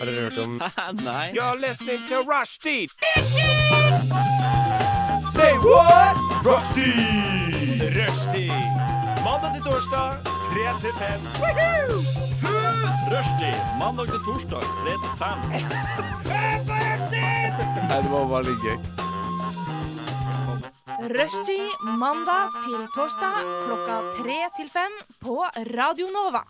Har dere hørt om Nei. You're listening to Rushdie. Say what? Rushdie. Rushdie. Mandag til torsdag, 3 til 5. Rushdie mandag til torsdag 3 til 5. Nei, det var bare litt gøy. Rushtid mandag til torsdag klokka tre til fem på Radio Nova.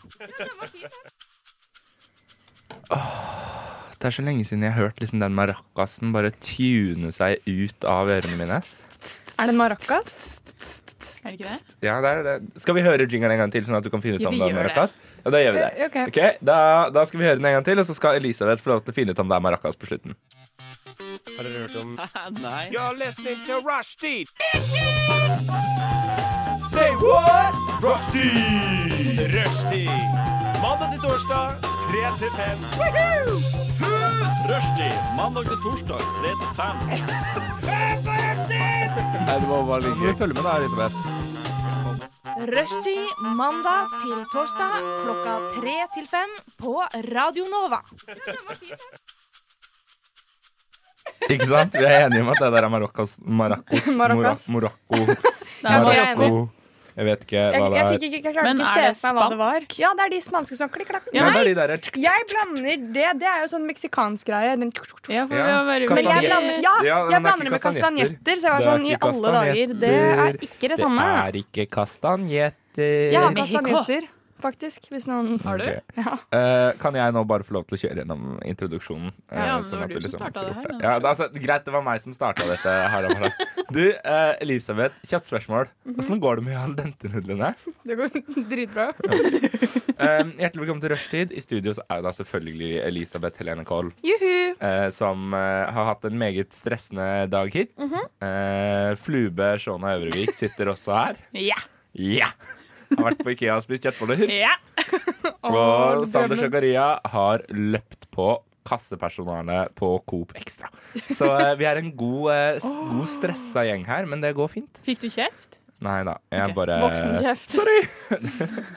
Det er så lenge siden jeg har hørt liksom den maracasen bare tune seg ut av ørene mine. Er det maracas? Er det ikke det? Ja, det er det. Skal vi høre jingeren en gang til, sånn at du kan finne ut Ja, om vi det er gjør det. maracas? Ja, da gjør vi det. Eh, ok. Ok, da, da skal vi høre den en gang til, og så skal Elisabeth få lov til å finne ut om det er maracas på slutten. Har dere hørt om Nei. You're listening to Rushdie. Say what? Rushdie. Rushdie. Mandag til torsdag, 3 til 5. Rushdie mandag til torsdag 3 til 5. Nei, det var bare litt gøy. Følg med da, Elisabeth. Rushtid mandag til torsdag klokka tre til fem på Radio Nova. Ikke sant? Vi er enige om at det der er maracas Maracos. Mora- Maracas. Morocco. Nei, jeg er enig. Maracco. Jeg vet ikke Jeg, hva det jeg er. fikk ikke, jeg klarte Men ikke er se det for meg hva det var. spansk? Ja, det er de spanske som klikk, klakk. Nei, Nei, det er de der jeg blander det. Det er jo sånn meksikansk greie. Den tuk, tuk, tuk. Ja, for Ja. vi var veldig Men jeg Kastanjer. blander, Ja, ja, men det er jeg blander ikke det med kastanjetter. kastanjetter, så jeg var Det er sånn i ikke alle dager. Det er kastanjetter. ikke det samme. Det er ikke kastanjetter. Jeg har Mexico. kastanjetter, faktisk. Hvis noen Har du? Ok. Ja. Eh, kan jeg nå bare få lov til å kjøre gjennom introduksjonen? eh, Ja, men det sånn var at du vi som liksom startet får det gjort her, det. men Ja, det, er altså, greit, det var meg som starta dette. Her, da, Mara. du, eh, Elisabeth, kjapt spørsmål. Mhm. Åssen går det med al dente-nudlene? Det går dritbra. Eh, hjertelig velkommen til Rushtid. I studio så er jo da selvfølgelig Elisabeth Helene Koll, Juhu! eh, som eh, har hatt en meget stressende dag hit. Mhm. eh, Flube Shona Øvrevik sitter også her. Ja. Ja! Har vært på Ikea og spist kjøttboller. ja. Og Sander Sjakaria har løpt på kassepersonalet på Coop Extra. Så eh, vi er en god, eh, s- god stressa gjeng her, men det går fint. Fikk du kjeft? Nei da, jeg Ok, bare Voksenkjeft.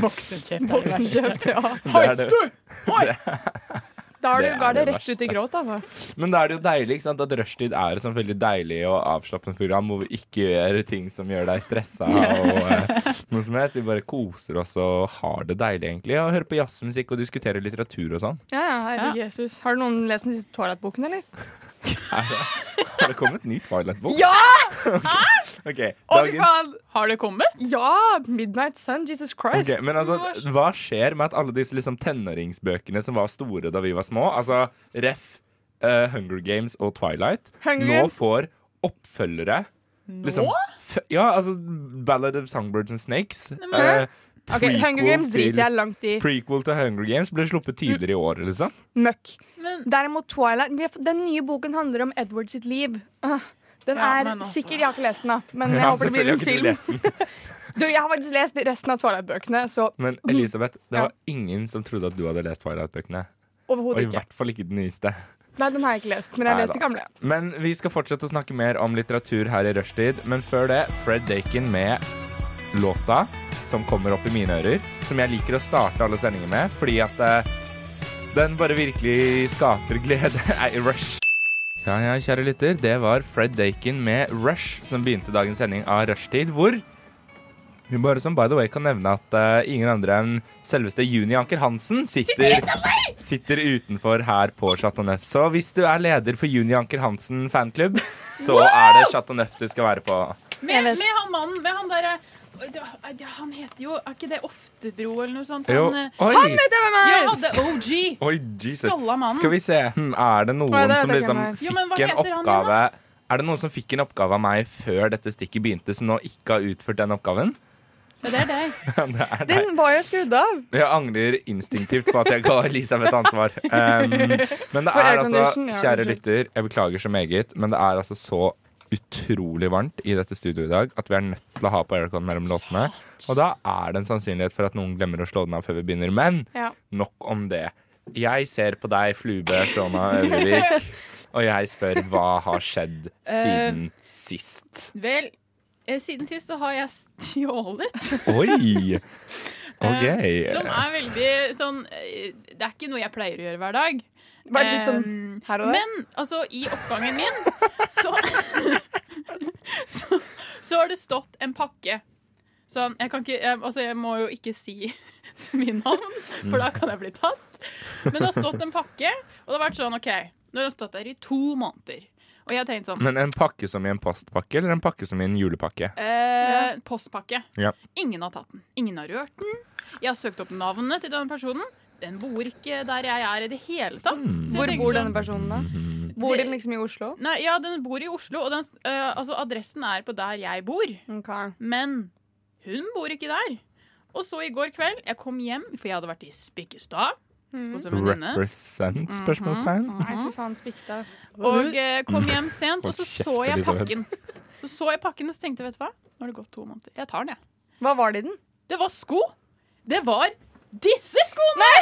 Voksenkjeft er det verste. Voksenkjeft, ja. Det er det. Da har du Det er ga det det rett ut i gråt, altså. Men da er det jo deilig ikke sant? at rushtid er et sånn veldig deilig og avslappende program hvor vi ikke gjør ting som gjør deg stressa og eh, noe som helst. Vi bare koser oss og har det deilig, egentlig. Og hører på jazzmusikk og diskuterer litteratur og sånn. Ja, ja, herregud Jesus. Har du noen lest den siste Twilight-boken, eller? Har det kommet ny Twilight-bok? Ja! Ok, Å, fy dagens faen! Har det kommet? Ja! Midnight Sun, Jesus Christ. Ok, men altså, Lars. hva skjer med at alle disse liksom, tenåringsbøkene som var store da vi var små, altså Ref, eh, Hunger Games og Twilight, Hunger nå Games. får oppfølgere? Liksom, f- ja, altså Ballad of Songbirds and Snakes. eh, Ok, Hunger prequel Games driter jeg til- langt i. Prequel til Hunger Games ble sluppet tidligere i år, liksom. Møkk. Men Derimot Twilight vi har fått- Den nye boken handler om Edward sitt liv. Ah, Den Ja, er men altså. sikkert Jeg har ikke lest den, da. Men jeg Ja, håper det selvfølgelig blir en har ikke du film. lest den. Du, jeg har faktisk lest resten av Twilight-bøkene, så Men Elisabeth, det Ja. var ingen som trodde at du hadde lest Twilight-bøkene. Og i overhodet ikke. hvert fall ikke den nyeste. Nei, den har jeg ikke lest, men jeg har Nei lest de da. gamle. Men vi skal fortsette å snakke mer om litteratur her i rushtid. Men før det, Fred Dakin med låta som kommer opp i mine ører, som jeg liker å starte alle sendinger med, fordi at eh, den bare virkelig skaper glede. Nei, Rush. Ja, ja, kjære lytter, det var Fred Dakin med Rush som begynte dagens sending av Rushtid, hvor vi bare som by the way kan nevne at eh, ingen andre enn selveste Juni Anker Hansen sitter sitter utenfor her på Chateau Neuf. Så hvis du er leder for Juni Anker Hansen fanklubb, så er det Chateau Neuf du skal være på. med, med han mannen, med han derre Oi, det- Han heter jo Er ikke det Oftebro eller noe sånt? Jo. Han, eh, Oi! Vet jeg hvem ja, jeg er? han det OG. Oi, Jesus. Skalla mannen. Skal vi se. Hm, er det Oi, noen det som vet jeg liksom ikke Jo, men hva fikk en heter han igjen, oppgave Er det noen som fikk en oppgave av meg før dette stikket begynte, som nå ikke har utført den oppgaven? Ja, det er deg. det er deg. Den var jo skrudd av. Jeg angrer instinktivt på at jeg ga Elisabeth ansvar. Um, men det For er altså, aircondition, ja, kjære unnskyld. lytter, jeg beklager så meget, men det er altså så utrolig varmt i dette studioet i dag at vi er nødt til å ha på aircon mellom låtene. Og da er det en sannsynlighet for at noen glemmer å slå den av før vi begynner. Men Ja. nok om det. Jeg ser på deg, Flube Sjåna Øvrevik, og jeg spør hva har skjedd Eh, siden sist? Vel, eh, siden sist så har jeg stjålet Oi! Ok. eh, Som er veldig sånn eh, Det er ikke noe jeg pleier å gjøre hver dag. Bare litt sånn Um, her og der. Men altså, i oppgangen min så, så, så har det stått en pakke. Sånn, jeg kan ikke jeg, Altså, jeg må jo ikke si så mye navn, for da kan jeg bli tatt. Men det har stått en pakke, og det har vært sånn OK, nå har den stått der i to måneder. Og jeg har tenkt sånn Men en pakke som i en postpakke, eller en pakke som i en julepakke? eh, Postpakke. Ja. Ingen har tatt den. Ingen har rørt den. Jeg har søkt opp navnet til denne personen. Den bor ikke der jeg er i det hele tatt. Så jeg Mm. Hvor tenker bor sånn- denne personen, da? Mhm. Bor de liksom i Oslo? Nei, ja, den bor i Oslo, og den, eh, altså, adressen er på der jeg bor. Ok. Men hun bor ikke der. Og så i går kveld, jeg kom hjem, for jeg hadde vært i Spikkestad hos en venninne. Represent? Mhm. spørsmålstegn? Nei, fy faen, spikse, ass. Og eh, kom hjem sent, og så Hold kjeft, så jeg Elisabeth. pakken. Så så jeg pakken, og så tenkte jeg, vet du hva, nå har det gått to måneder. Jeg tar den, jeg. Hva var det i den? Det var sko. Det var disse skoene!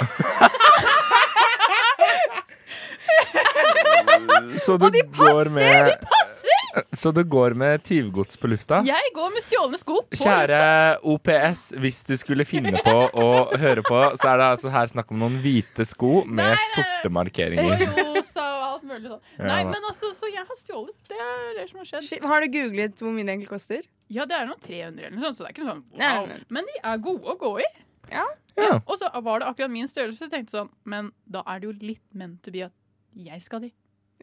Så du går med Passer! Så du går med tyvgods på lufta? Jeg går med stjålne sko. på Kjære OPS, hvis du skulle finne på å høre på, så er det altså her snakk om noen hvite sko med sorte markeringer. Rosa og alt mulig sånn. Ja, Nei, da. men altså, så jeg har stjålet. Det er det som har skjedd. Shit, Har du googlet hvor mye det egentlig koster? Ja, det er noe 300 eller noe sånt, så det er ikke sånn Nei, wow. nei, nei. Men de er gode å gå i. Ja. Ja. Og så var det akkurat min størrelse, så jeg tenkte sånn, men da er det jo litt meant to be at jeg skal de.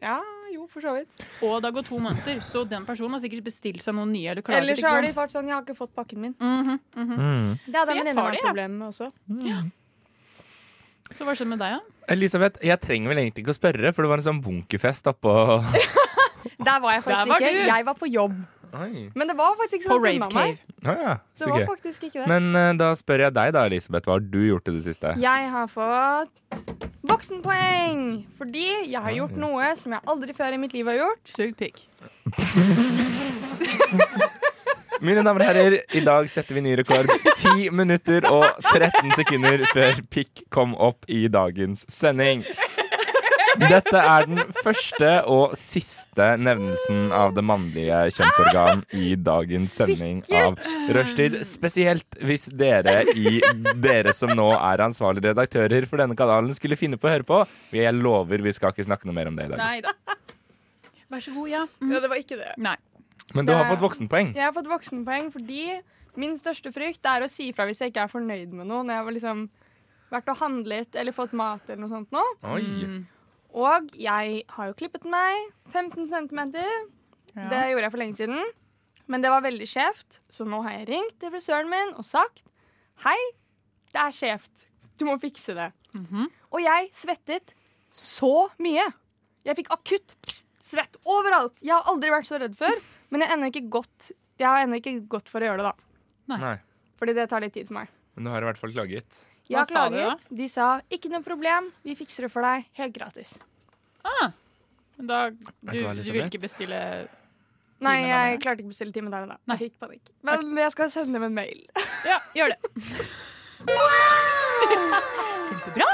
Ja, jo, for så vidt. Og det har gått to måneder, så den personen har sikkert bestilt seg noen nye eller klaget, Ellers ikke så har de sant? vært sånn 'jeg har ikke fått pakken min'. Mhm, mhm. Mm. Det hadde Så jeg en tar venninne av det, meg jeg. problemer med også. Så hva skjedde med deg, da? Elisabeth, jeg trenger vel egentlig ikke å spørre, for det var en sånn bunkerfest oppå Der var jeg Der faktisk var ikke. du. Jeg var på jobb. Oi. Men det var faktisk ikke På så langt Rave unna meg. Cave. Å ja, Det så var gøy. faktisk ikke det. Men eh, da spør jeg deg da, Elisabeth, hva har du gjort i det siste? Jeg har fått voksenpoeng! Fordi jeg har gjort noe som jeg aldri før i mitt liv har gjort. Sug pikk. Mine damer og herrer, i dag setter vi ny rekord. 10 minutter og 13 sekunder før pikk kom opp i dagens sending. Dette er den første og siste nevnelsen av det mannlige kjønnsorgan i dagens sending av Rushtid. Spesielt hvis dere i dere som nå er ansvarlige redaktører for denne kanalen, skulle finne på å høre på. Jeg lover vi skal ikke snakke noe mer om det i dag. Nei da. Vær så god, ja. Mhm. Ja, det var ikke det. Nei. Men du har fått voksenpoeng. Jeg har fått voksenpoeng fordi min største frykt er å si fra hvis jeg ikke er fornøyd med noe. Når jeg har liksom vært og handlet eller fått mat eller noe sånt nå. Oi. Og jeg har jo klippet meg. 15 cm. Ja. Det gjorde jeg for lenge siden. Men det var veldig skjevt, så nå har jeg ringt til frisøren min og sagt Hei, det er skjevt. Du må fikse det. Mhm. Og jeg svettet så mye. Jeg fikk akutt svett overalt. Jeg har aldri vært så redd før, men jeg, har ennå ikke gått, jeg har ennå ikke gått for å gjøre det, da. Nei. Fordi det tar litt tid for meg. Men du har i hvert fall klaget. Jeg Hva har sa de da? klaget. De sa 'ikke noe problem, vi fikser det for deg helt gratis'. Men da, du du, hva, du vil Elisabeth? ikke bestille Nei, Timen jeg allerede. klarte ikke å bestille time der og da. Nei. Jeg fikk panikk. Men jeg skal sende dem en mail. Ja, gjør det. Kjempebra!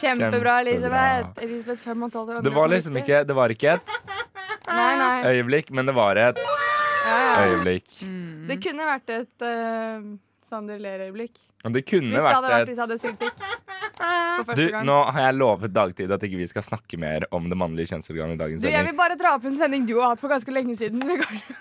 Kjempebra, Elisabeth. Elisabeth 5 og 12 Det var liksom ikke, det var ikke et Nei, nei. øyeblikk, men det var et øyeblikk. Det kunne vært et eh, Sander Ler-øyeblikk. Og det Hvis kunne det hadde vært vært hvis et jeg hadde sugd pikk. For du, første gang. nå har jeg lovet dagtid at ikke vi skal snakke mer om det mannlige kjønnsorganet i dagens Du, jeg vil sending. bare dra opp en sending du har hatt for ganske lenge siden. Som jeg kanskje...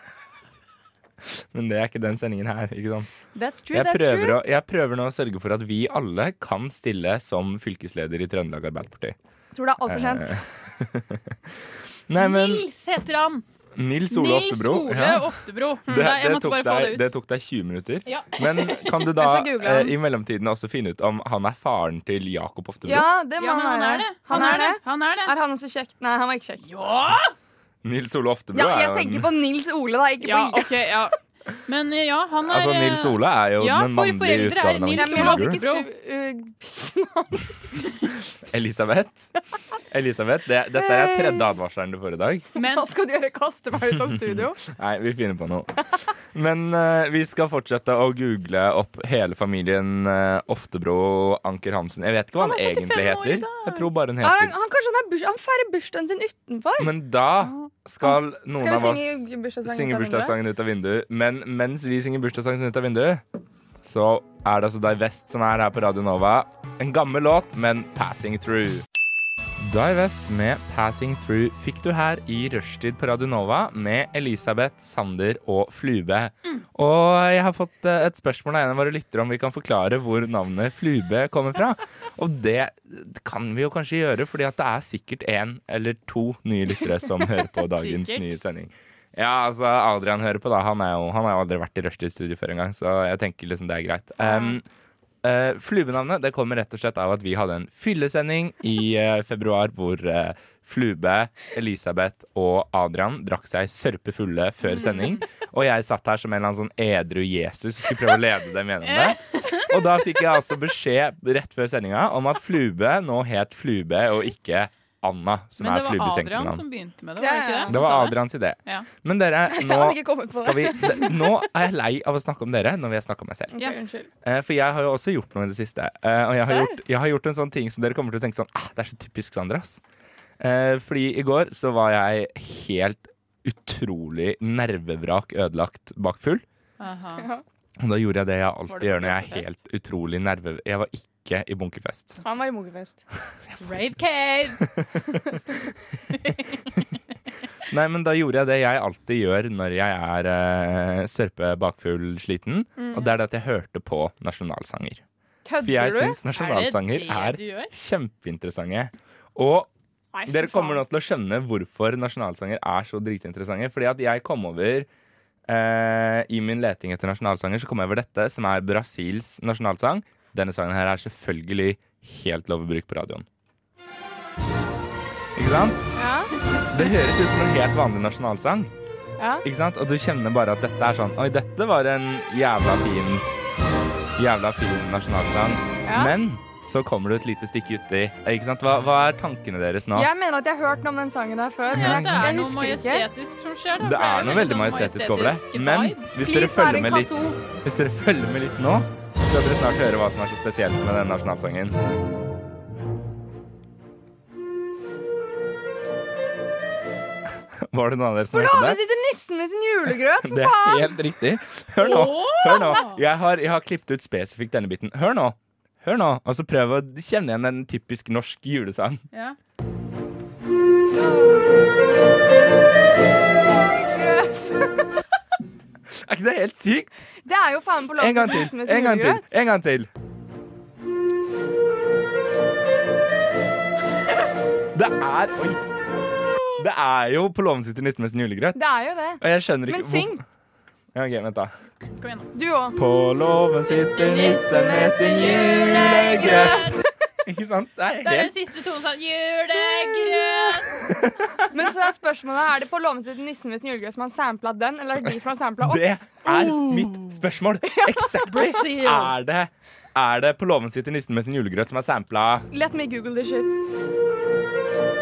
Men det er ikke den sendingen her. ikke sant? That's true, Jeg that's prøver, true. å, jeg prøver nå å sørge for at vi alle kan stille som fylkesleder i Trøndelag Arbeiderparti. Tror det er altfor Eh, sent. Nei, men Nils heter han. Nils Ole Nils Oftebro. Ole ja. Oftebro. Mm, Det, nei, jeg det, måtte tok bare få deg, det det ut. tok deg 20 minutter. Ja. Men kan du da Jeg skal google eh, han. i mellomtiden også finne ut om han er faren til Jakob Oftebro? Ja, det må Ja, men han er det. Han er det. Han er det. Er han også kjekk? Nei, han var ikke kjekk. Ja! Nils Ole Oftebro Ja, er jeg jo en- tenker på Nils Ole, da. Ikke Ja, på ok, ja. Men eh, ja, han er Altså, eh, Nils Ole er jo Ja, den for mannlige foreldre er utgaven av Nils ja, Nils men jeg hadde Ole. ikke Bro. su... Uh, Elisabeth, Elisabeth det, dette er tredje advarselen du får i dag. Men Hva skal du gjøre? Kaste meg ut av studio? Nei, vi finner på noe. Men eh, vi skal fortsette å google opp hele familien eh, Oftebro Anker Hansen. Jeg vet ikke hva Han han, er 75 egentlig år i heter. Jeg tror bare hun Ja, han, heter han, kanskje han, er burs, han feirer bursdagen sin utenfor? Men da skal Mm, noen Skal vi av oss synge bursdagssangen? synge utenfor? bursdagssangen ut av vinduet. Men mens vi synger bursdagssangen ut av vinduet, så er det altså Dai West som er her på Radio Nova. En gammel låt, men passing through. Dai West med 'Passing Through' fikk du her i rushtid på Radio Nova med Elisabeth, Sander og Flube. Og jeg har fått eh, et spørsmål av en av våre lyttere om vi kan forklare hvor navnet Flube kommer fra. Og det kan vi jo kanskje gjøre, fordi at det er sikkert én eller to nye lyttere som hører på dagens Sikkert. nye sending. Ja, altså Adrian hører på, da. Han, er jo, han har jo aldri vært i rushtid-studio før engang, så jeg tenker liksom det er greit. Um, Eh, flubenavnet det kommer rett og slett av at vi hadde en fyllesending i eh, februar hvor eh, Flube, Elisabeth og Adrian drakk seg sørpefulle før sending. Og jeg satt her som en eller annen sånn edru Jesus skulle prøve å lede dem gjennom det. Og da fikk jeg altså beskjed rett før sendinga om at Flube nå het Flube og ikke Anna, som Men det er var Flubes Adrian enkeltnavn. som begynte med det, Ja, var det ikke ja. det? Altså, Det var Adrians idé. Ja. Men dere, nå hadde ikke kommet på skal vi d- Nå er jeg lei av å snakke om dere når vi har snakka om meg selv. Ok, Ja. Unnskyld. Eh, For jeg har jo også gjort noe i det siste. Eh, Og jeg har, gjort, jeg har gjort en sånn ting som dere kommer til å tenke sånn ah, Det er så typisk Sandra, ass. Eh, Fordi i går så var jeg helt utrolig nervevrak ødelagt bakfull. Aha. Og da gjorde jeg det jeg alltid det på gjør når jeg er bunkerfest? helt utrolig nerve... Jeg var ikke i bunkerfest. Han var i Mogefest. Rave cave! Nei, men da gjorde jeg det jeg alltid gjør når jeg er eh, sørpe, bakfull, sliten. Mm. Og det er det at jeg hørte på nasjonalsanger. For jeg Kødder du? syns nasjonalsanger Er det det er du gjør? kjempeinteressante. Og Nei, fy Dere kommer nå faen. til å skjønne hvorfor nasjonalsanger er så dritinteressante. Fordi at jeg kom over eh, I min leting etter nasjonalsanger så kom jeg over dette, som er Brasils nasjonalsang. Denne sangen her er selvfølgelig helt lov å bruke på radioen. Ikke sant? Ja. Det høres ut som en helt vanlig nasjonalsang. Ja. Ikke sant? Og du kjenner bare at dette er sånn Oi, dette var en jævla fin Jævla fin nasjonalsang. Ja. Men så kommer du et lite stykke uti. Ikke sant? Hva, hva er tankene deres nå? Jeg mener at jeg har hørt noe om den sangen der før. Ja, Men det jeg, er jeg noe husker ikke. majestetisk som skjer. da, for Det er jo noe veldig majestetisk over det. sånn majestetisk Men vibe. hvis dere, Please, vær følger en med litt, kazoo. hvis dere følger med litt nå, så skal dere snart høre hva som er så spesielt med den nasjonalsangen. Var det noen av dere som Bra, hørte nå det? sitter nissen med sin julegrøt, for Det er faen! helt riktig. Hør nå. Åh! Hør nå. Jeg har, jeg har klippet ut spesifikt denne biten. Hør nå. Hør nå. Og så prøv å kjenne igjen en typisk norsk julesang. Ja. Er ikke det helt sykt? Det er jo faen på låten En gang til til. nissen med sin En gang til. julegrøt. En gang til. Det er Oi. Det er jo på låven sitter nissen med sin julegrøt. Det er jo det. Og jeg skjønner ikke Men syng, hvorfor- Ja, ok, vent da. Kom igjen, nå. du òg. På låven sitter nissen med sin julegrøt. Ikke sant? Det er Det er den helt siste tonen sånn Julegrøt! Men så er spørsmålet er det på låven sitter nissen med sin julegrøt som har sampla den, eller er det de som har sampla Det oss? er mitt spørsmål. Exactly. Er det, er det på låven sitter nissen med sin julegrøt som er sampla Let me google this shit. Tror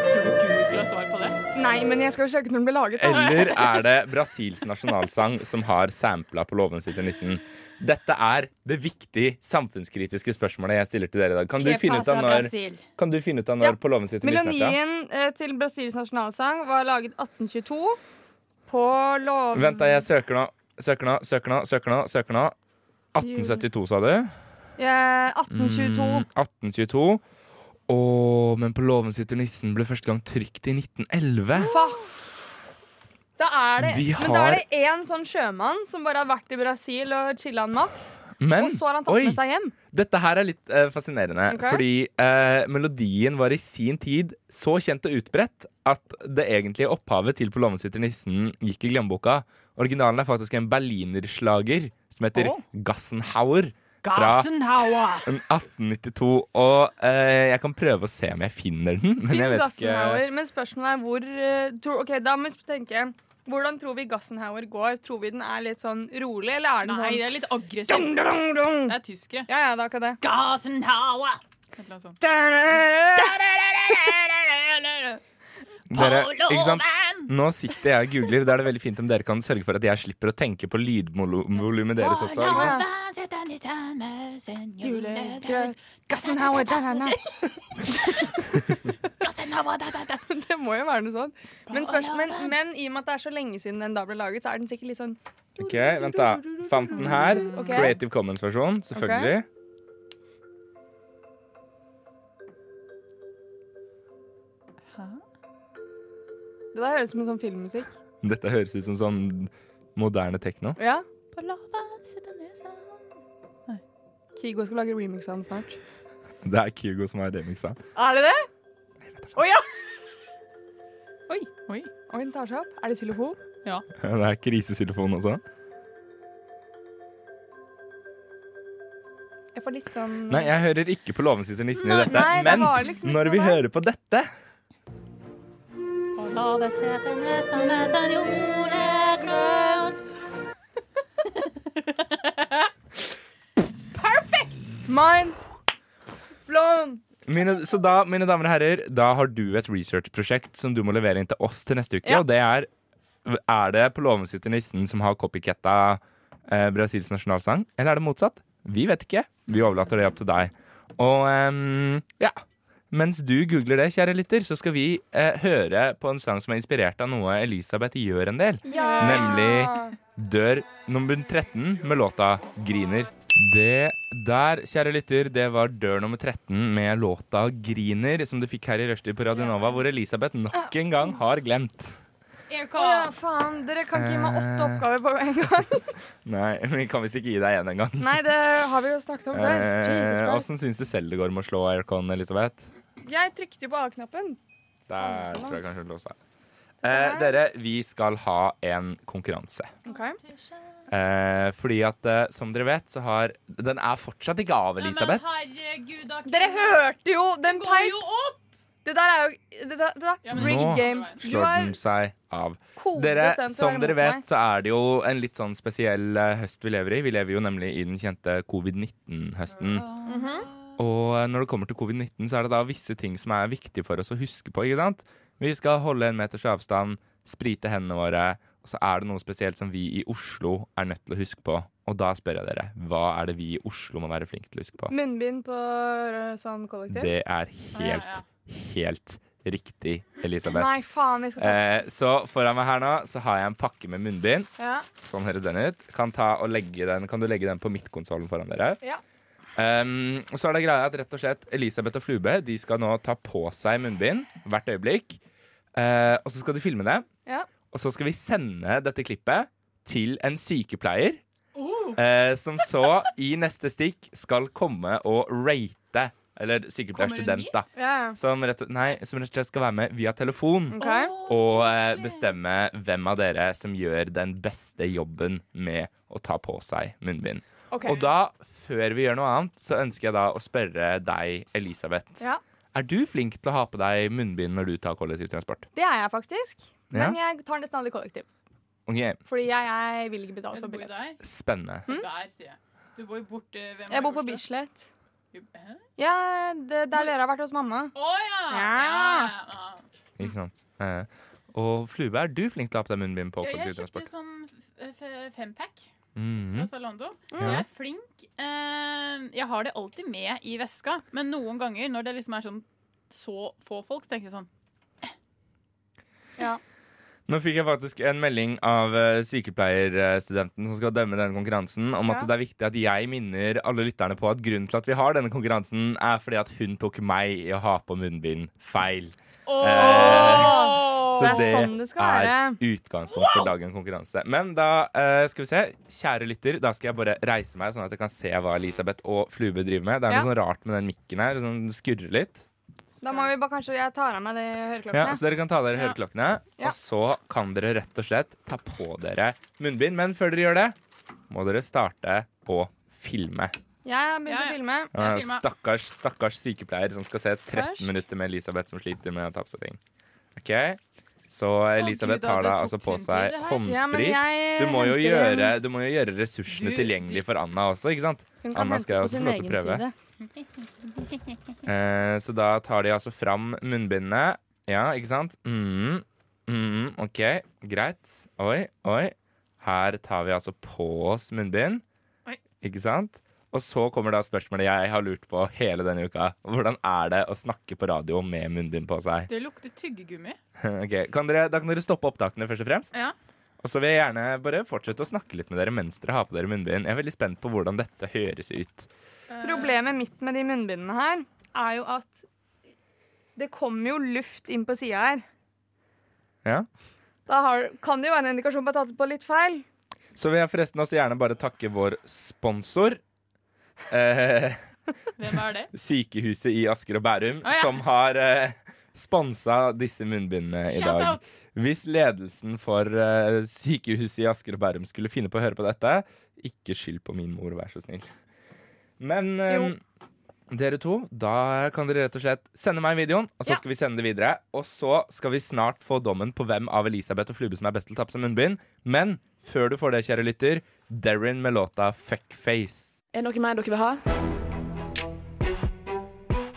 du Google har svar på det? Nei, men jeg skal jo søke når den ble laget. da. Eller er det Brasils nasjonalsang som har sampla på låven sitter nissen? Dette er det viktige samfunnskritiske spørsmålet jeg stiller til dere i dag. Kan du Que finne ut av pasa, når, Brasil? kan du finne ut av Ja. når på låven sitter nissen er fra? Melodien eh, til Brasils nasjonalsang var laget 1822 på låven Vent, da. Jeg søker nå. Søker nå, søker nå, søker nå. søker nå 1872, sa du? Eh, 1822. Mm, 1822. Å, men på låven sitter nissen ble første gang trykt i 1911. Fuck! Da er det, De Men da har- er det én sånn sjømann som bare har vært i Brasil og chilla en maks, Men og så har han tatt oi, med seg hjem. dette her er litt eh, fascinerende. Ok. Fordi eh, melodien var i sin tid så kjent og utbredt at det egentlige opphavet til På låven sitter nissen gikk i glemmeboka. Originalen er faktisk en berlinerslager som heter Gassenhauer. Fra Gassenhauer! 1892. Og eh, jeg kan prøve å se om jeg finner den, men jeg Finn vet ikke Gassenhauer, men spørsmålet er hvor eh, tror, Ok, da må vi tenke Hvordan tror vi Gassenhauer går? Tror vi den er litt sånn rolig, eller er den Nei, det er litt aggressivt. sånn dun, dun, dun? Det er tyskere. Ja, ja, det er akkurat det. Gassenhauer! Et eller annet sånt. Dere, ikke sant? Nå sitter jeg og googler. Da er det veldig fint om dere kan sørge for at jeg slipper å tenke på lydvolumet deres også. Ikke sant? Julegrøt, Gassenhauer da, da, da. Det må jo være noe sånt. Men, spørs- men, men i og med at det er så lenge siden den da ble laget, så er den sikkert litt sånn OK, vent, da. Fant den her. Ok. Creative Commons-versjon, selvfølgelig. Det der høres ut som en sånn filmmusikk. Dette høres ut som sånn moderne tekno. Ja. På lava sitter nesa Kigo skal lage remix av den snart. Det er Kygo som har remixa. Er det det? Å ja! Oi, oi. Oi, den tar seg opp. Er det xylofon? Det er krisesylofon også. Jeg får litt sånn Nei, jeg hører ikke på Låven sitter nissen i dette. Nei, det Men var liksom ikke når vi noe der. hører på dette På lava sitter nesa Mind blown! mine, Så da, mine damer og herrer, da har du et researchprosjekt som du må levere inn til oss til neste uke. Ja. Og det er Er det på Låven sitter nissen som har copycatta eh, Brasils nasjonalsang? Eller er det motsatt? Vi vet ikke. Vi overlater det opp til deg. Og ehm, ja. Mens du googler det, kjære lytter, så skal vi eh, høre på en sang som er inspirert av noe Elisabeth gjør en del. Ja! Nemlig- Dør nummer 13 med låta 'Griner'. Det der, kjære lytter, det var dør nummer 13 med låta 'Griner', som du fikk her i rushtid på Radio Nova, hvor Elisabeth Ah. nok en gang har glemt. Å ja, faen. Dere kan ikke gi meg åtte Eh. oppgaver på en gang. Nei, vi kan visst ikke gi deg én engang. Nei, det har vi jo snakket om før. Eh, Jesus Christ. Åssen syns du selv det går med å slå aircon, Elisabeth? Jeg trykte jo på A-knappen. Der tror jeg kanskje hun låste seg. Eh, dere, vi skal ha en konkurranse. Ok. Eh, fordi at, eh, som dere vet, så har Den er fortsatt ikke av, Elisabeth. herregud, da Dere hørte jo den går peip! jo opp! Det der er jo det der, det der. Ja, men- Nå Rigged game. Du slår har den seg av. kodet Dere, den til å som være dere mot vet, meg. så er det jo en litt sånn spesiell eh, høst vi lever i. Vi lever jo nemlig i den kjente covid-19-høsten. Og eh, når det kommer til covid-19, så er det da visse ting som er viktige for oss å huske på, ikke sant? Vi skal holde en meters avstand, sprite hendene våre, og så er det noe spesielt som vi i Oslo er nødt til å huske på. Og da spør jeg dere, hva er det vi i Oslo må være flinke til å huske på? Munnbind på øh, sånn kollektiv? Det er Ja, ja, helt, helt riktig, Elisabeth. Nei, faen. Vi skal ta Eh, så foran meg her nå så har jeg en pakke med munnbind. ja. Sånn høres den ut. Kan, ta og legge den, kan du legge den på midtkonsollen foran dere? Ja. Um, og så er det greia at rett og slett Elisabeth og Flube De skal nå ta på seg munnbind hvert øyeblikk. Eh, og så skal de filme det. Ja. Og så skal vi sende dette klippet til en sykepleier. Uh. Oh. eh, som så i neste stikk skal komme og rate. Eller Kommer hun sykepleierstudent, hit? da. ja. ja. Som rett, og- nei, som rett og slett skal være med via telefon OK. og eh, bestemme hvem av dere som gjør den beste jobben med å ta på seg munnbind. ok. Og da, før vi gjør noe annet, så ønsker jeg da å spørre deg, Elisabeth. Ja. Er du flink til å ha på deg munnbind når du tar kollektivtransport? Det er jeg faktisk. Men jeg tar nesten aldri kollektiv. Ok, Fordi jeg, jeg vil ikke Du betale for bor jo billett. der. Spennende. Der, sier jeg. Du Hmm? bor jo borte ved Jeg bor på Majorstua. Bislett. Hæ? Ja, det, der dere har vært hos mamma. Å ja! Ja. ja. Ikke sant? Eh, Og Flube, er du flink til å ha på deg munnbind på Ja, Jeg kjøpte kollektivtransport? sånn f- f- fempack fra Mhm. Zalando. Ja. Jeg er flink. Eh, Jeg har det alltid med i veska, men noen ganger når det liksom er sånn så få folk, så tenker jeg sånn Nå fikk jeg faktisk en melding av eh, sykepleierstudenten som skal dømme denne konkurransen, om at Ja. det er viktig at jeg minner alle lytterne på at grunnen til at vi har denne konkurransen, er fordi at hun tok meg i å ha på munnbind feil. Eh, Åh! Så det er sånn det skal er utgangspunkt for dagens konkurranse. Men da eh, skal vi se. Kjære lytter, da skal jeg bare reise meg, sånn at jeg kan se hva Elisabeth og Flube driver med. Det er Ja. noe sånn rart med den mikken her, som skurrer litt. Da må vi bare kanskje Jeg tar av meg de Ja, altså- høreklokkene. så dere kan ta av dere Ja. høreklokkene, Ja. og så kan dere rett og slett ta på dere munnbind. Men før dere gjør det, må dere starte å filme. Jeg har begynt Ja, ja. å filme. Jeg filmer. Stakkars, stakkars sykepleier som skal se 13 Først. minutter med Elisabeth som sliter med å ta på seg ting. OK? Så Elisabeth Gud, da, tar det da tok altså på sin tid, seg det her. Ja, men håndsprit. jeg Du må, jo henter gjøre, den. du må jo gjøre ressursene Du- tilgjengelig for Anna også, ikke sant? Hun kan Anna hente skal også på få sin lov til å egen prøve. side. Eh, så da tar de altså fram munnbindene. Ja, ikke sant? Mm, mm, ok, greit. Oi, oi. Her tar vi altså på oss munnbind. Oi. Ikke sant? Og så kommer da spørsmålet jeg har lurt på hele denne uka. Hvordan er det å snakke på radio med munnbind på seg? Det lukter tyggegummi. Ok, kan dere, Da kan dere stoppe opptakene først og fremst. Ja. Og så vil jeg gjerne bare fortsette å snakke litt med dere mens dere har på dere munnbind. Jeg er veldig spent på hvordan dette høres ut. Problemet mitt med de munnbindene her er jo at det kommer jo luft inn på sida her. Ja. Da har, kan det jo være en indikasjon på at jeg har tatt på litt feil. Så vil jeg forresten også gjerne bare takke vår sponsor. Eh, Hvem er det? sykehuset i Asker og Bærum, Å, ja. som har eh, sponsa disse munnbindene i dag. Shout-out! Hvis ledelsen for eh, sykehuset i Asker og Bærum skulle finne på å høre på dette, ikke skyld på min mor, vær så snill. Men eh, dere to, da kan dere rett og slett sende meg videoen, og så Ja. skal vi sende det videre. Og så skal vi snart få dommen på hvem av Elisabeth og Flube som er best til å ta på seg munnbind. Men før du får det, kjære lytter, Derrin med låta 'Fuckface'. Er det noe mer dere vil ha?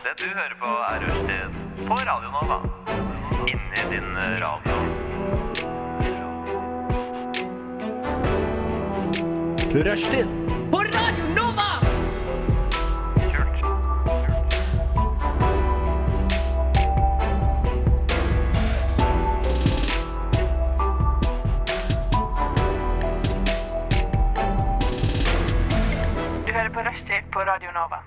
Det du hører på er Rushtid på Radio Nova. Inni din eh, radio. Rushtid Kult. Du hører på Rushtid på Radio Nova.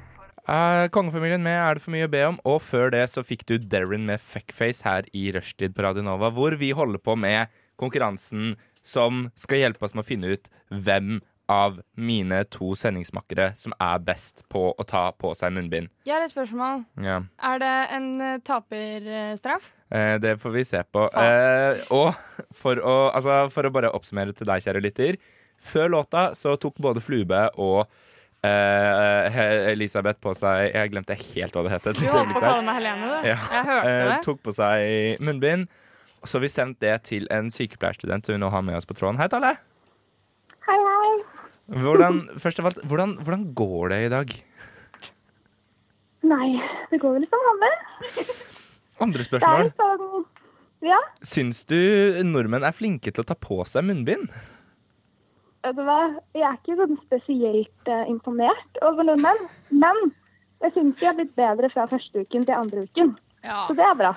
Eh, Kongefamilien med Er det for mye å be om? Og før det så fikk du Derrin med Fuckface her i Rushtid på Radio Nova, hvor vi holder på med konkurransen som skal hjelpe oss med å finne ut hvem av mine to sendingsmakkere som er best på å ta på seg munnbind. Jeg har et spørsmål. Ja. Er det en eh, taperstraff? Eh, det får vi se på. Eh, og for å, altså, for å bare oppsummere til deg, kjære lytter. Før låta så tok både Flube og eh, He- Elisabeth på seg Jeg glemte helt hva det het. et Du lite holdt øyeblikk på å der. kalle meg Helene, du. Ja. Jeg hørte eh, det. tok på seg munnbind. Og så har vi sendt det til en sykepleierstudent som vi nå har med oss på tråden. Hei, Talle. Hvordan, først av alt, hvordan, hvordan går det i dag? Nei, det går vel som vanlig. Andre Det er spørsmål. litt sånn Ja, Syns du nordmenn er flinke til å ta på seg munnbind? vet du hva. Jeg er ikke sånn spesielt eh, imponert over nordmenn. Men jeg syns de har blitt bedre fra første uken til andre uken. Ja. Så det er bra.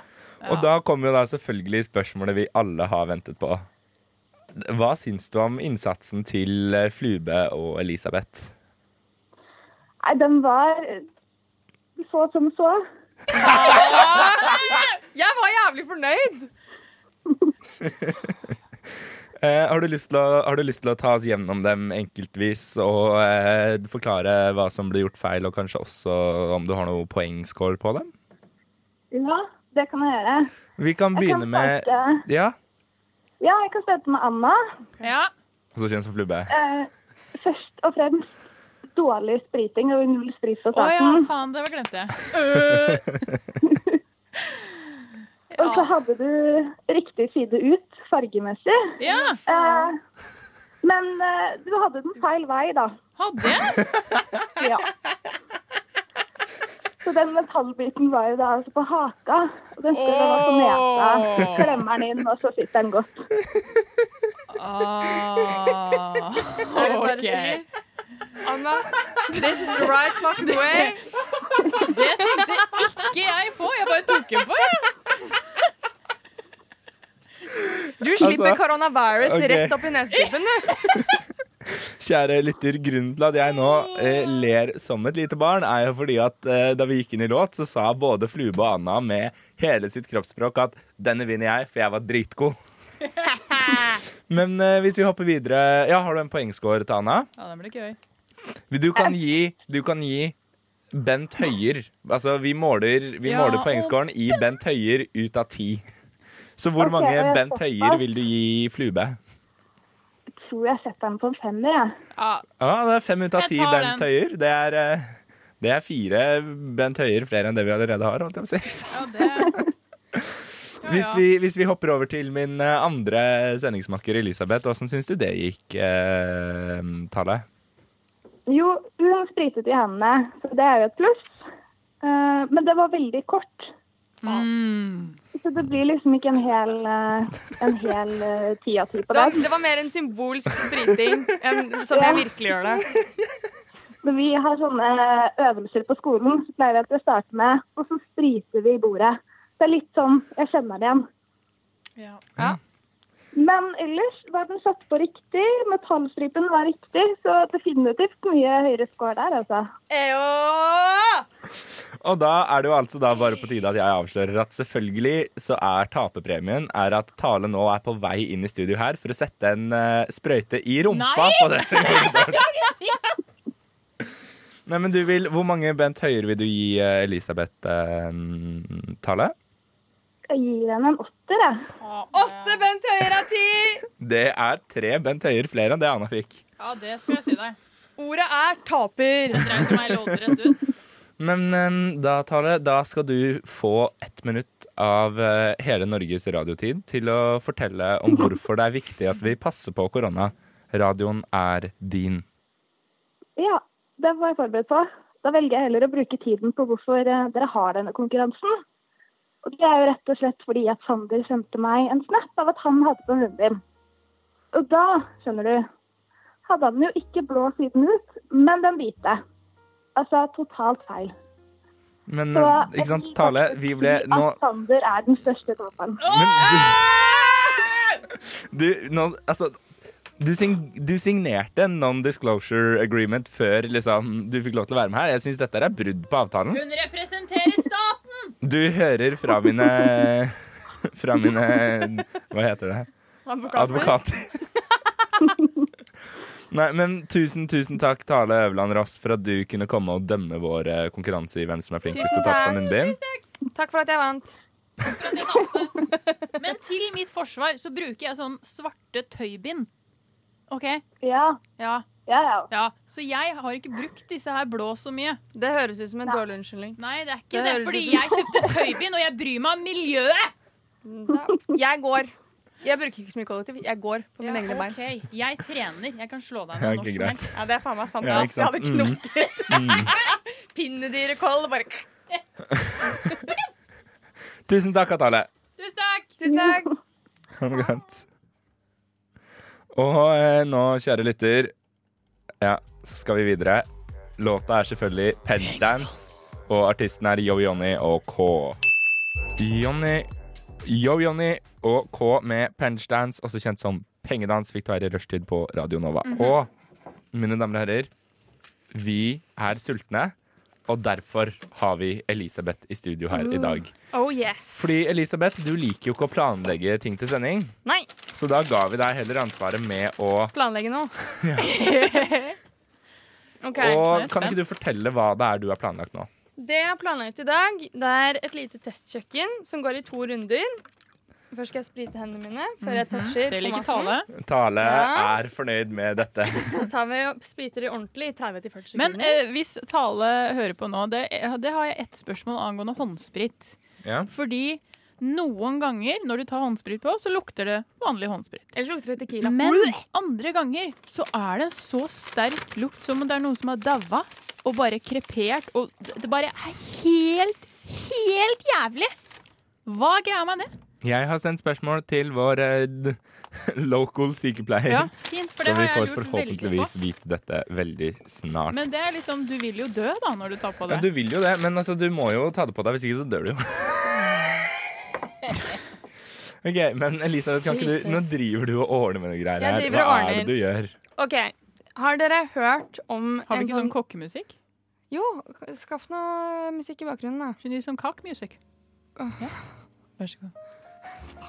Og da kommer jo da selvfølgelig spørsmålet vi alle har ventet på. Hva syns du om innsatsen til eh, Flube og Elisabeth? Nei, den var eh, så som så. Jeg var jævlig fornøyd! Eh, har, du lyst til å, har du lyst til å ta oss gjennom dem enkeltvis og eh, forklare hva som ble gjort feil, og kanskje også om du har noe poengscore på dem? Ja, det kan jeg gjøre. Vi kan Jeg kan begynne med starte- Ja, Ja, jeg kan starte med Anna. Ja. altså kjent som flubbe. Eh, først og fremst dårlig spriting og null sprit på Å ja, starten. faen, det var glemte jeg. Og så hadde du riktig side ut fargemessig. Ja, Eh, men eh, du hadde den feil vei, da. hadde jeg? Ja. Så den metallbiten var jo da altså på haka. Og den skulle den altså nesa. Åh. Klemmer den inn, og så sitter den godt. Ah, Er det bare å ok. si? Anna, this is the right fucking way. Det tenkte ikke jeg på. Jeg bare tok den på. jeg. Du slipper Altså, coronavirus ok. rett opp i nesetippen, du. Kjære lytter, grunnen til at jeg nå eh, ler som et lite barn, er jo fordi at eh, da vi gikk inn i låt, så sa både Flube og Anna med hele sitt kroppsspråk at 'denne vinner jeg, for jeg var dritgod'. Men eh, hvis vi hopper videre Ja, har du en poengscore til Anna? Ja, den ble gøy. Du kan Eh, gi, du kan gi Bent Høyer Altså, vi måler, vi Ja, måler og- poengskåren i Bent Høyer ut av ti. Så hvor Ok, mange og jeg Bent stopper. Høyer vil du gi Flube? Tror jeg setter den på en femmer, jeg. Ja, Ja, det er fem ut av Jeg ti tar Bent den. Høyer. Det er, eh, det er fire Bent Høyer flere enn det vi allerede har. Holdt jeg på å si. ja det ja, Hvis, ja. vi, hvis vi hopper over til min eh, andre sendingsmakker Elisabeth, åssen syns du det gikk, eh, Tale? Jo, hun spritet i hendene, så det er jo et pluss. Eh, men det var veldig kort. Mm. Så det blir liksom ikke en hel, eh, en hel eh, ti av ti på Det, dag. det var mer en symbolsk spriting enn som jeg virkelig gjør det. Når vi har sånne eh, øvelser på skolen, så pleier vi at vi starter med, og så spriter vi i bordet. Det er litt sånn Jeg kjenner det igjen. Ja. Så Men ellers var den satt på riktig, metallstripen var riktig, så definitivt mye høyere score der, altså. Og da er det jo altså da bare på tide at jeg avslører at selvfølgelig så er taperpremien er at Tale nå er på vei inn i studio her for å sette en eh, sprøyte i rumpa på det som går bort. Nei, men du vil, Hvor mange Bent Høier vil du gi eh, Elisabeth eh, Tale? Jeg gir henne en åtter, jeg. Åtte Bent Høyre er ti! Det er tre Bent Høier flere enn det Anna fikk. Ja, det skal jeg si deg. Ordet er taper. Men eh, da, Tale, da skal du få ett minutt av eh, hele Norges radiotid til å fortelle om hvorfor det er viktig at vi passer på korona. Radioen er din. Ja, det var jeg forberedt på. Da velger jeg heller å bruke tiden på hvorfor eh, dere har denne konkurransen. Og det er jo rett og slett fordi at Sander sendte meg en snap av at han hadde på hunden din. Og da, skjønner du, hadde han jo ikke blå siden ut, men den hvite. Altså totalt feil. Men Så eh, jeg ikke sant, vil Tale, vi ble nå At Sander er den største taperen. Men du, du, nå, altså, du, sign, du signerte en non-disclosure agreement før liksom, du fikk lov til å være med her. Jeg syns dette er brudd på avtalen. Hun representerer staten! Du hører fra mine Fra mine Hva heter det? Advokater. Nei, men tusen, tusen takk, Tale Øverland Ross, for at du kunne komme og dømme vår eh, konkurranse i hvem som er flinkest til å ta på seg munnbind. Takk for at jeg vant. Men til mitt forsvar så bruker jeg sånn svarte tøybind. OK? Ja, Ja. ja, ja. ja. Så jeg har ikke brukt disse her blå så mye. Det høres ut som en dårlig unnskyldning. Nei, det er ikke det. Det høres fordi ut som- jeg kjøpte tøybind, og jeg bryr meg om miljøet! Jeg går. Jeg bruker ikke så mye kollektiv. Jeg går på mine egne bein. OK, jeg trener. Jeg kan slå deg Ja, ikke ned når som greit. helst. Ja, det er faen meg sant. Ja, ass. ikke sant? Mm. Jeg hadde knokket. Pinnedyrekoll. Bare Tusen takk, Tale. Tusen takk! Tusen takk. Ha det godt. Og eh, nå, kjære lytter, ja, så skal vi videre. Låta er selvfølgelig Pentdance, og artisten er Yo-Johnny og K. Johnny Yo-Johnny og K med Pentdance, også kjent som Pengedans, fikk du her i rushtid på Radio Nova. Og mine damer og herrer, vi er sultne, og derfor har vi Elisabeth i studio her i dag. Oh yes. Fordi Elisabeth, du liker jo ikke å planlegge ting til sending. Nei, Så da ga vi deg heller ansvaret med å planlegge nå. OK. Og kan ikke du fortelle hva det er du har planlagt nå? Det jeg har planlagt i dag, det er et lite testkjøkken som går i to runder. Først skal jeg sprite hendene mine før jeg toucher. Mhm. Det på liker maten. Tale. Tale Ja. er fornøyd med dette. Så tar vi og spriter de ordentlig i 30-40 sekunder. Men eh, hvis Tale hører på nå, det, eh, det har jeg ett spørsmål angående håndsprit. Ja. Fordi noen ganger når du tar håndsprit på, så lukter det vanlig håndsprit. Ellers lukter det tequila. Men andre ganger så er det en så sterk lukt som om det er noen som har daua og bare krepert. Og det bare er helt, helt jævlig! Hva er greia med det? Jeg har sendt spørsmål til vår eh, d- local sykepleier, Ja, fint, for så det vi har jeg får lurt veldig forhåpentligvis på. vite dette veldig snart. Men det er litt sånn, du vil jo dø da når du tar på ja, det. du vil jo det, men altså, du må jo ta det på deg, hvis ikke så dør du jo. OK, men Elisabeth, kan ikke du, nå Jesus. driver du og ordner med noen greier Jeg her. driver Hva og er det ordner. du gjør? OK. Har dere hørt om Har en vi ikke sånn kokkemusikk? Jo, skaff noe musikk i bakgrunnen, da. Skjønner du, sånn kakmusikk? Åh. Ja. Vær så god.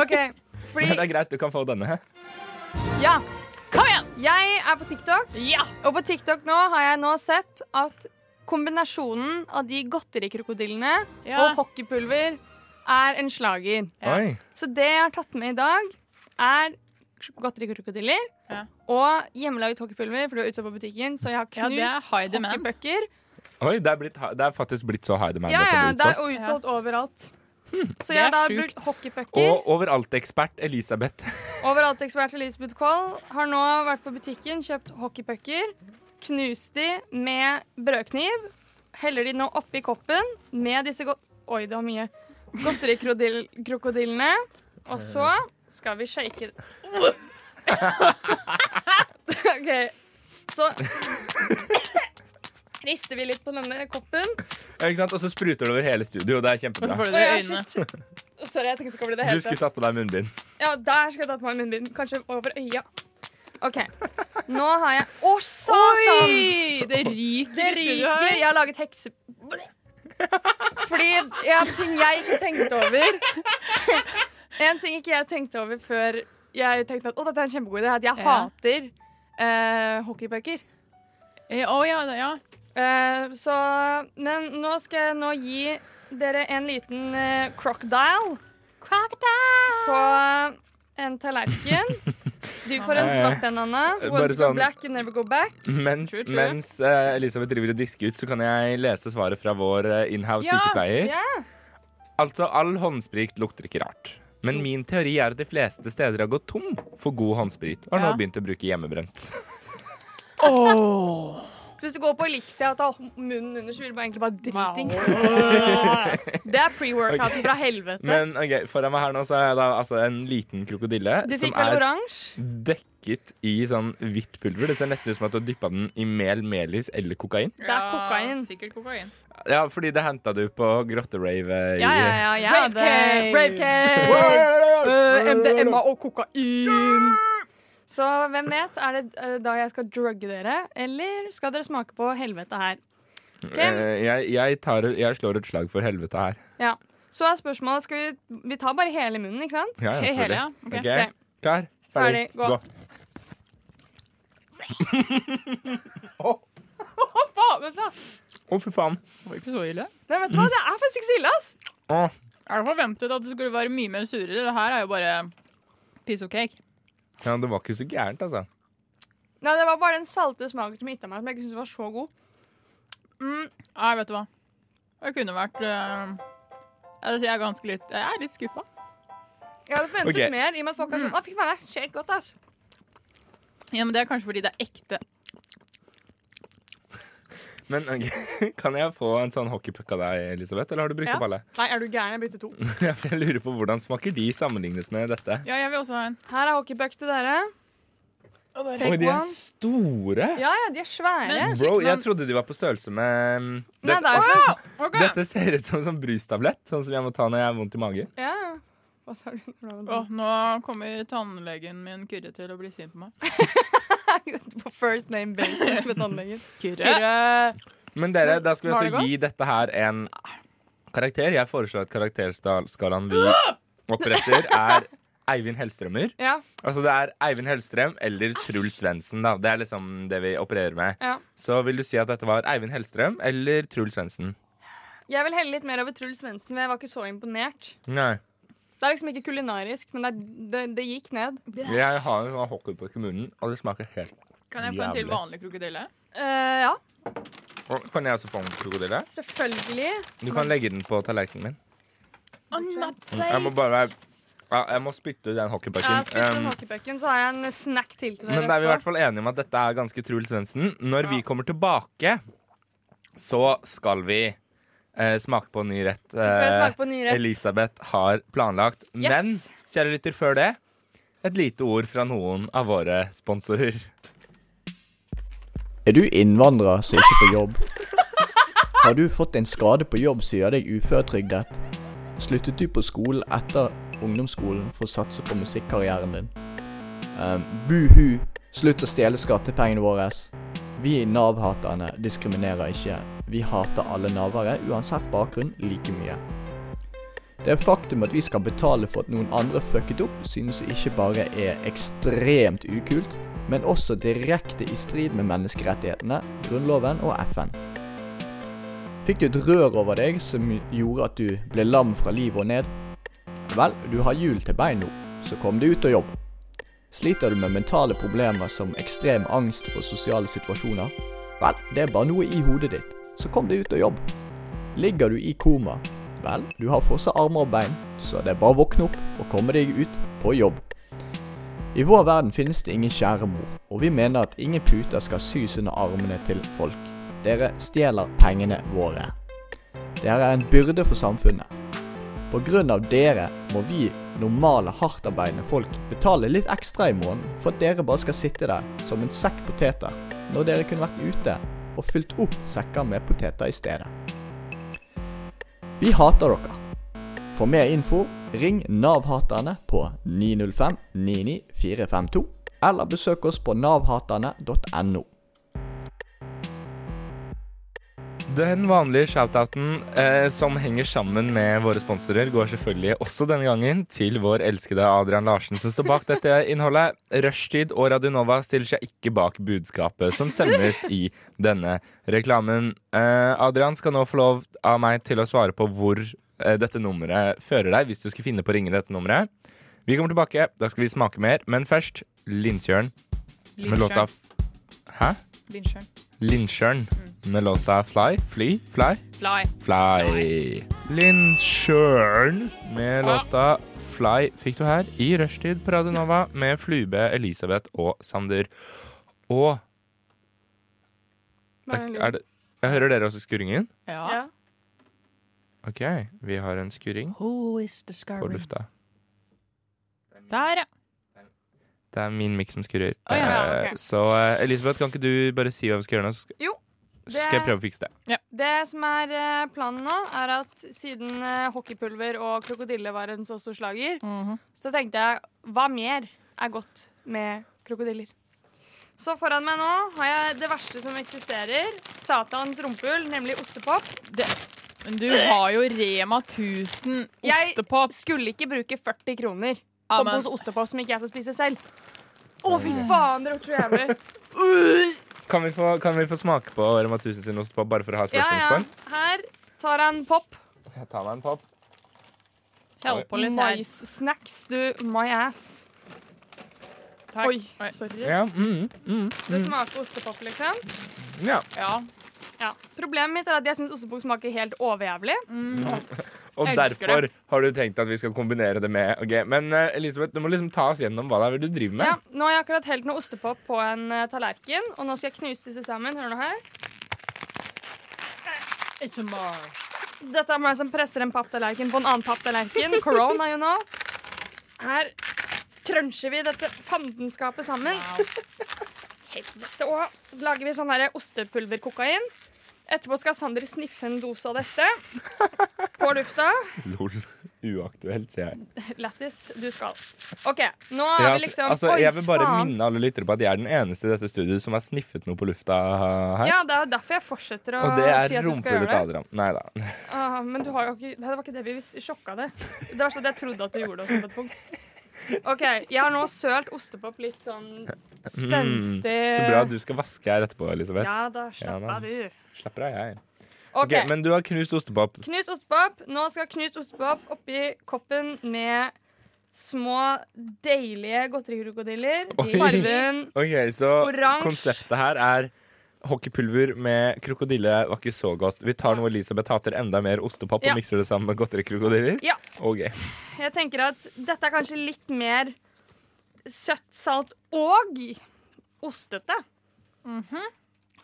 OK. Men det Fordi er greit, du kan få denne. Ja. Kom igjen! Jeg er på TikTok, Ja! og på TikTok nå har jeg nå sett at kombinasjonen av de godterikrokodillene Ja. og hockeypulver er en slager. Ja. Oi. Så det jeg har tatt med i dag, er godterikrokodiller Ja. og hjemmelaget hockeypulver, for du er utsatt på butikken, så jeg har Ja, det er knust high demand. hockeybøkker. Oi, det er, blitt, det er faktisk blitt så high demand Ja, at det ja, det er blitt er solgt. og utsolgt overalt. Så Hm, Det jeg er har da sjukt. brukt hockeypucker. Og overalt-ekspert Elisabeth. Overalt-ekspert Elisabeth Koll har nå vært på butikken, kjøpt hockeypucker, knust de med brødkniv, heller de nå oppi koppen med disse godt... Oi, det var mye. Godterikrokodillene. Og så skal vi shake OK. Så rister vi litt på denne koppen. Ja, Ikke sant? Og så spruter det over hele studio, og det er Og så kjempebra. får du Å, det i ja, øynene. shit. Sorry, jeg tenkte ikke over det i det Du hele skulle tatt. tatt på deg munnbind. Ja, der skal jeg ta på meg munnbind. Kanskje over øya. OK. Nå har jeg Å, satan! Oi, det ryker Det i studio her. ryker. Jeg har laget hekse... Fordi en ting jeg ikke tenkte over En ting ikke jeg tenkte over før jeg tenkte at å, dette er en kjempegod idé, er at jeg Ja. hater eh, hockeybøker. Eh, så Men nå skal jeg nå gi dere en liten eh, crocodile. På eh, en tallerken. Du får en Ja, ja. svart en, Anna. Bare Once you go sånn- black, you never go back. Mens, True, true. mens eh, Elisabeth driver og disker ut, så kan jeg lese svaret fra vår eh, inhouse sykepleier. ja. Altså, all håndsprit lukter ikke rart. Men min teori er at de fleste steder har gått tom for god håndsprit, og har nå Ja. begynt å bruke hjemmebrent. Hvis du går på Elixia og tar munnen under, så vil du bare egentlig bare dritings. Det er pre-workouten Ok. fra helvete. Men ok, foran meg her nå så er jeg da altså en liten krokodille Du som fikk vel er oransje? dekket i sånn hvitt pulver. Det ser nesten ut som at du har dyppa den i mel, melis eller kokain. Det er kokain. Sikkert kokain. Ja, fordi det henta du på grotterave i Ja, ja, ja. ja Rave cave. Rave cave. Eh, MDMA og kokain. Så hvem vet? Er det eh, da jeg skal drugge dere, eller skal dere smake på helvete her? Hvem? Eh, Jeg, jeg, tar, jeg slår et slag for helvete her. Ja. Så er spørsmålet skal vi, vi tar bare hele munnen, ikke sant? Ja, ja, Hele, selvfølgelig. ja. Ok, Ok. Klar, ferdig, Ferdig, gå. gå. Å, Hva faen? vet du hva? å, fy faen. Det var ikke så ille. Nei, vet du hva? Det er faktisk ikke så ille, ass. Å, Jeg hadde forventet at det skulle være mye mer surere. Det her er jo bare piss og cake. ja, det var ikke så gærent, altså. Nei, det var bare den salte smaken som gitt av meg, som jeg ikke syntes var så god. Nei, vet du hva. Det kunne vært eh, jeg, jeg er ganske litt Jeg er litt skuffa. Jeg hadde forventet Ok. mer, i og med at folk er sånn Å, fy faen, det er skjelt godt, ass. Ja, men det er kanskje fordi det er ekte. Men ok, kan jeg få en sånn hockeypuck av deg, Elisabeth, eller har du brukt Ja. opp alle? Nei, er du gæren? Jeg brukte to. Ja, for Jeg lurer på hvordan smaker de sammenlignet med dette? Ja, jeg vil også ha en. Her er hockeypuck til dere. Oi, Take de er one. store! Ja, ja, de er svære. Men- Bro, jeg men- trodde de var på størrelse med mm, Nei, dette, det er jo sånn. Ok. dette ser ut som en sånn brustablett, sånn som jeg må ta når jeg har vondt i magen. Ja. Hva tar du nå? Åh, nå kommer tannlegen min Kyrre til å bli sint på meg. På first name basis med tannlegen. Kyrre? Kyrre. Men dere, da skal vi Var det altså gi dette her en karakter. Jeg foreslår at karakterskalaen vi oppretter, er Eivind Hellstrømmer. Ja. Altså det er Eivind Hellstrøm eller Truls Svendsen, da. Det er liksom det vi opererer med. Ja. Så vil du si at dette var Eivind Hellstrøm eller Truls Svendsen? Jeg vil helle litt mer over Truls Svendsen, men jeg var ikke så imponert. Nei. Det er liksom ikke kulinarisk, men det, er- det, det gikk ned. Jeg har jo hockey på kommunen, og det smaker helt Kan jeg få en til Jævlig. vanlig krokodille? Eh, ja, Å, Kan jeg også få en krokodille? selvfølgelig. Du kan legge den på tallerkenen min. Jeg må Nei, bare ja, Jeg må spytte ut den Jeg har spilt hockeypucken. den Um, hockeypucken, så har jeg en snack til til dere. Men da er vi i hvert etterpå. fall enige om at dette er ganske Truls Svendsen. Når vi kommer tilbake, så skal vi eh, smake på en ny rett Så skal jeg eh, smake på en ny rett. Elisabeth har planlagt. Yes. Men kjære lytter, før det et lite ord fra noen av våre sponsorer. Er du innvandrer som ikke får jobb? Har du fått en skade på jobb som gjør deg uføretrygdet? Sluttet du på skolen etter ungdomsskolen for å satse på musikkarrieren din? Um, Buhu! Slutt å stjele skattepengene våre. Vi Nav-haterne diskriminerer ikke. Vi hater alle Navere, uansett bakgrunn, like mye. Det er faktum at vi skal betale for at noen andre fucket opp, synes ikke bare er ekstremt ukult, men også direkte i strid med menneskerettighetene, Grunnloven og FN. Fikk du et rør over deg som gjorde at du ble lam fra livet og ned? Vel, du har hjul til bein nå, så kom deg ut og jobb. Sliter du med mentale problemer som ekstrem angst for sosiale situasjoner? Vel, det er bare noe i hodet ditt, så kom deg ut og jobb. Ligger du i koma? Vel, du har fortsatt armer og bein, så det er bare å våkne opp og komme deg ut på jobb. I vår verden finnes det ingen kjære mor, og vi mener at ingen puter skal sys under armene til folk. Dere stjeler pengene våre. Dere er en byrde for samfunnet. På grunn av dere må vi normale, hardtarbeidende folk betale litt ekstra i måneden for at dere bare skal sitte der som en sekk poteter, når dere kunne vært ute og fylt opp sekker med poteter i stedet. Vi hater dere. For mer info Ring Nav-haterne på 905 99 452, eller besøk oss på navhaterne.no. Den vanlige shoutouten eh, som henger sammen med våre sponsorer, går selvfølgelig også denne gangen til vår elskede Adrian Larsen, som står bak dette innholdet. Rushtid og Radionova stiller seg ikke bak budskapet som sendes i denne reklamen. Eh, Adrian skal nå få lov av meg til å svare på hvor eh, dette nummeret fører deg, hvis du skulle finne på å ringe dette nummeret. Vi kommer tilbake, da skal vi smake mer, men først Linsjørn med låta Linsjørn. Hæ? Linsjørn. Lindsjøen med låta Fly, Fly, Fly. Fly. Fly. Lindsjøen med låta Fly fikk du her i rushtid på Radio Nova med Flube, Elisabeth og Sander. Og Hva er den lyden? er det, Jeg hører dere også skurringen? Ja. OK, vi har en skurring Who is the scarring? på lufta. Der, ja. Det er min mikk som skurrer. Å, ja, Eh, ok. Så eh, Elisabeth, kan ikke du bare si hva vi skal gjøre nå? Så sk- Jo. så skal jeg prøve å fikse det. Det som er eh, planen nå, er at siden eh, hockeypulver og krokodille var en så stor slager, så tenkte jeg hva mer er godt med krokodiller? Så foran meg nå har jeg det verste som eksisterer. Satans rumpehull, nemlig ostepop. Men du har jo Rema 1000 ostepop. Jeg skulle ikke bruke 40 kroner Ja, på men- pose ostepop som ikke jeg skal spise selv. Å, fy faen, det lukter så jævlig. Kan vi få, kan vi få smake på Rema 1000 sin ostepop, bare for å ha et Ja, ja. referansepoint? Her tar jeg en pop. Jeg tar meg en pop. Hell på litt her. Mais-snacks, du. My ass. Takk. Oi, sorry. Ja, mm, mm, Det mm. smaker ostepop, liksom. ja. Ja. Problemet mitt er at jeg syns ostepop smaker helt overjævlig. Og Jeg elsker derfor det. har du tenkt at vi skal kombinere det med ok, Men eh, Elisabeth, du må liksom ta oss gjennom hva det er du driver med. Ja, nå har jeg akkurat helt noe ostepop på en eh, tallerken, og nå skal jeg knuse disse sammen. Hør nå her. It's a mar. Dette er meg som presser en papptallerken på en annen papptallerken. Corona, you know. Her krønsjer vi dette fandenskapet sammen. Helvete òg. Så lager vi sånn her ostepulverkokain. Etterpå skal Sander sniffe en dose av dette på lufta. Lol. Uaktuelt, sier jeg. Lættis, du skal. OK, nå Ja, er vi altså- liksom altså, Oi, jeg vil bare faen. minne alle lyttere på at jeg er den eneste i dette studioet som har sniffet noe på lufta her. Ja, det er jo derfor jeg fortsetter å og det er si at du skal rumpehullet til gjøre det. Adrian. Nei da. Ah, men du har jo ikke, Nei, det var ikke det vi vis- sjokka det. Det var sånn at jeg trodde at du gjorde det også på et punkt. OK, jeg har nå sølt ostepop litt sånn Mm. spenstig Så bra at du skal vaske her etterpå, Elisabeth. Ja da, slapp da. av, du. Slapper av, jeg. OK. ok, Men du har knust ostepop. Knust ostepop. Nå skal knust ostepop oppi koppen med små, deilige godterikrokodiller Oi. i fargen Ok, Så Oransje. konseptet her er hockeypulver med krokodille var ikke så godt. Vi tar noe Elisabeth hater enda mer ostepop Ja. og mikser det sammen med godterikrokodiller. Ja. Ok. Jeg tenker at dette er kanskje litt mer søtt, salt og ostete. Mhm.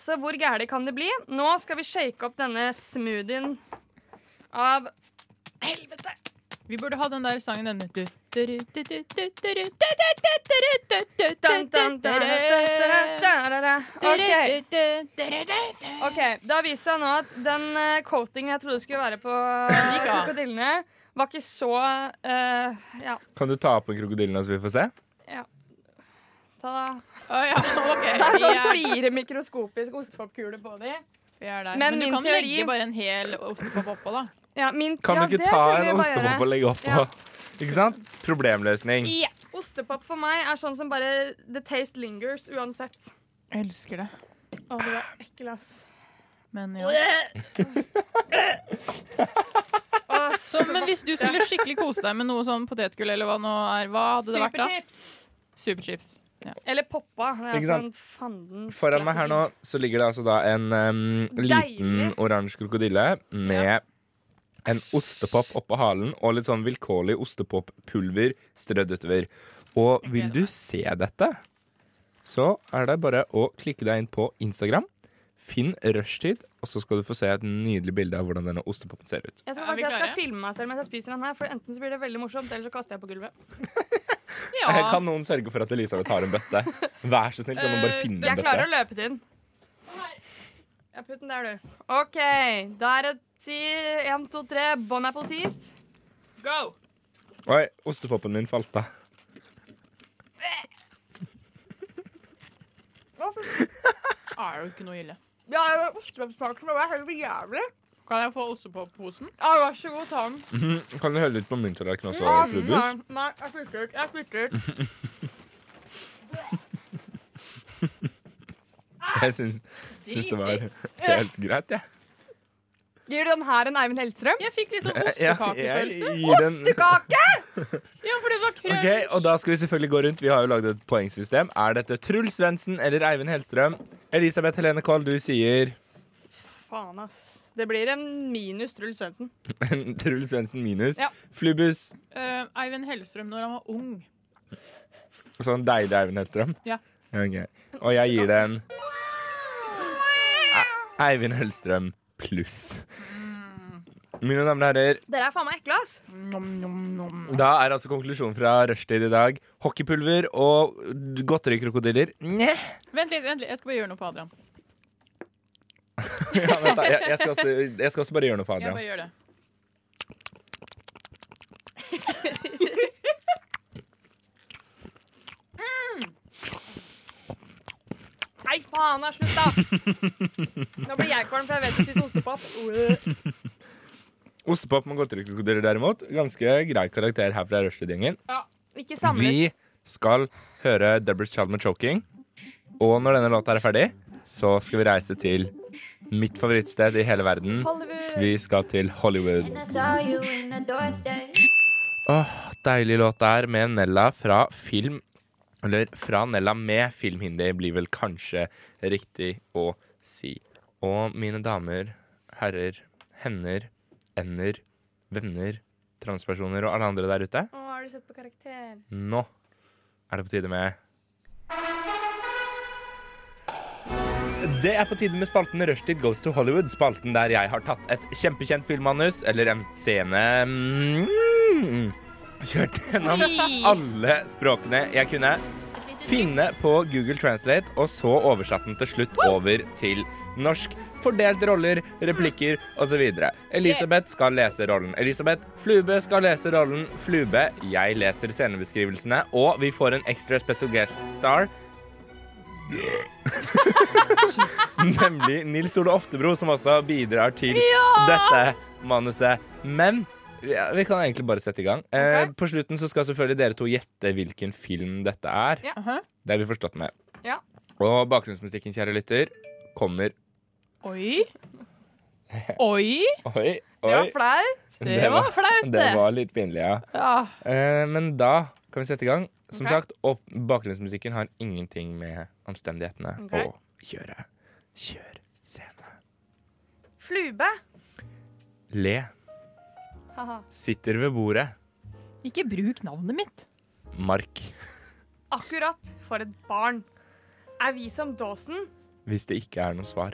Så hvor gærlig kan det bli? Nå skal vi shake opp denne smoothien av Helvete! Vi burde ha den der sangen denne. Du, du, du, du, du, du, du, du, Dun, dun, dun, dun, dun, dun, dun, dun. OK. Ok, Det har vist seg nå at den eh, coatingen jeg trodde skulle være på eh, Gikk av. krokodillene, var ikke så eh, Ja. Kan du ta opp en krokodille nå, så vi får se? ja. Ta ja, ok. Det er sånn Vi fire mikroskopiske ostepopkuler på de. Vi er der. Men, Men du min kan teori- legge bare en hel ostepop oppå, da. Ja, min, Kan ja, du det ikke ta kunne vi en bare gjøre. ostepop og legge oppå? Ja. Ikke sant? Problemløsning. Ja. Ostepop for meg er sånn som bare The taste lingers uansett. Jeg elsker det. Å, du er ekkel, ass. Men ja. Så, men hvis du skulle skikkelig kose deg med noe sånn potetgull eller hva nå er, hva hadde det vært da? Superchips. Superchips. Ja. Eller poppa. Det er Ikke sånn sant? fandens Foran meg her nå klassiker. så ligger det altså da en em, liten Deilig. oransje krokodille med en ostepop oppå halen og litt sånn vilkårlig ostepoppulver strødd utover. Og vil du se dette, så er det bare å klikke deg inn på Instagram. Finn rushtid, og så skal du få se et nydelig bilde av hvordan denne ostepopen ser ut. Jeg tror Er vi faktisk jeg skal klare? filme meg selv mens jeg spiser den her, for enten så blir det veldig morsomt, eller så kaster jeg på gulvet. Eh, Kan noen sørge for at Elisabeth har en bøtte? Vær så snill, kan noen bare finne en Eh, Jeg klarer å bøtte? løpe til den. Ja, putt den der, du. OK. Da er det ti, én, to, tre, bon appetit. Go! Oi, ostepopen min falt av. Ah, Er det jo ikke noe ille. Ja, det var ostepopsaken, det var helt jævlig. Kan jeg få ostepopposen? Ja, vær så god, ta den. Mhm, Kan du helle litt på min tallerken også, Ja, Flubus? nei, Nei, jeg spytter ut. Jeg spytter ut. Jeg syns, syns det var helt greit, jeg. Gir du den her en Eivind Hellstrøm? Jeg fikk litt sånn Ja, ostekakefølelse. jeg gir den- Ostekake! Ja, for det var krøll. Ok, og da skal vi selvfølgelig gå rundt. Vi har jo laget et poengsystem. Er dette Truls Svendsen eller Eivind Hellstrøm? Elisabeth Helene Koll, du sier Faen, ass. Det blir en minus Truls Svendsen. Truls Svendsen minus. Ja. Flubus. Eh, Eivind Hellstrøm når han var ung. Sånn deilig Eivind Hellstrøm. Ja. Ok. Og jeg gir det en E- Eivind Hellstrøm pluss. Mm. Mine damer og herrer, Dere er faen meg ekle, ass. Mm. da er altså konklusjonen fra rushtid i dag hockeypulver og godterikrokodiller. Njeh. Vent litt, vent litt, jeg skal bare gjøre noe for Adrian. Ja, vent da, jeg, jeg, skal også, jeg skal også bare gjøre noe for Jeg Adrian. bare gjør det. Nei, faen, det er slutt, da. Nå blir jeg kvalm, for jeg vet ikke spise ostepop. Ostepop med godterikrokodiller, derimot, ganske grei karakter her fra rushtid-gjengen. Ja, ikke samlet. Vi skal høre Deborah Child med 'Choking'. Og når denne låta er ferdig, så skal vi reise til mitt favorittsted i hele verden. Hollywood. Vi skal til Hollywood. I saw you in the doorstep. Åh, deilig låt der med Nella fra film Eller fra Nella med filmhindi blir vel kanskje riktig å si. Og mine damer, herrer, hender, ender, venner, transpersoner og alle andre der ute, Å, har du sett på karakter? nå er det på tide med Det er på tide med spalten Rushtid goes to Hollywood. Spalten der jeg har tatt et kjempekjent filmmanus, eller en scene mm, Kjørt gjennom Oi. alle språkene jeg kunne. Finne på Google Translate, og så oversatt den til slutt over til norsk. Fordelt roller, replikker osv. Elisabeth skal lese rollen. Elisabeth Flube skal lese rollen Flube. Jeg leser scenebeskrivelsene, og vi får en extra special guest star. Nemlig Nils Ole Oftebro, som også bidrar til Ja! dette manuset. Men ja, vi kan egentlig bare sette i gang. Eh, på slutten så skal selvfølgelig dere to gjette hvilken film dette er. Ja. Det har vi forstått med. Ja. Og bakgrunnsmusikken, kjære lytter, kommer Oi. Oi. Oi, oi. Det var flaut. Det var flaut, Det det. var litt pinlig, ja. Ja. Eh, men da kan vi sette i gang. Som Ok. sagt, opp, bakgrunnsmusikken har ingenting med omstendighetene Ok. å gjøre. Kjør scene. Flube. Le. Haha. Sitter ved bordet. Ikke bruk navnet mitt. Mark. Akkurat for et barn. Er vi som Dawson? Hvis det ikke er noe svar.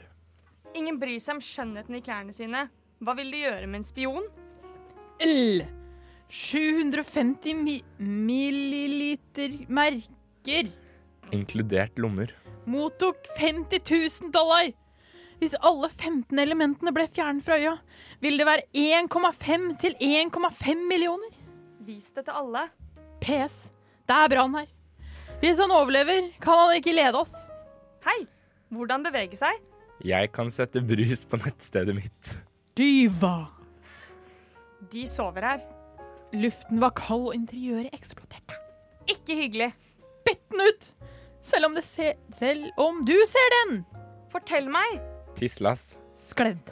Ingen bryr seg om skjønnheten i klærne sine. Hva vil du gjøre med en spion? L. 750 mi milliliter merker. Inkludert lommer. Mottok 50 000 dollar. Hvis alle 15 elementene ble fjernet fra øya, vil det være 1,5 til 1,5 millioner. Vis det til alle. PS. Det er brann her. Hvis han overlever, kan han ikke lede oss. Hei, hvordan bevege seg? Jeg kan sette brus på nettstedet mitt. Diva. De sover her. Luften var kald, og interiøret eksploderte. Ikke hyggelig. Bytt den ut! Selv om, det ser, selv om du ser den! Fortell meg! Tislas. Skledd.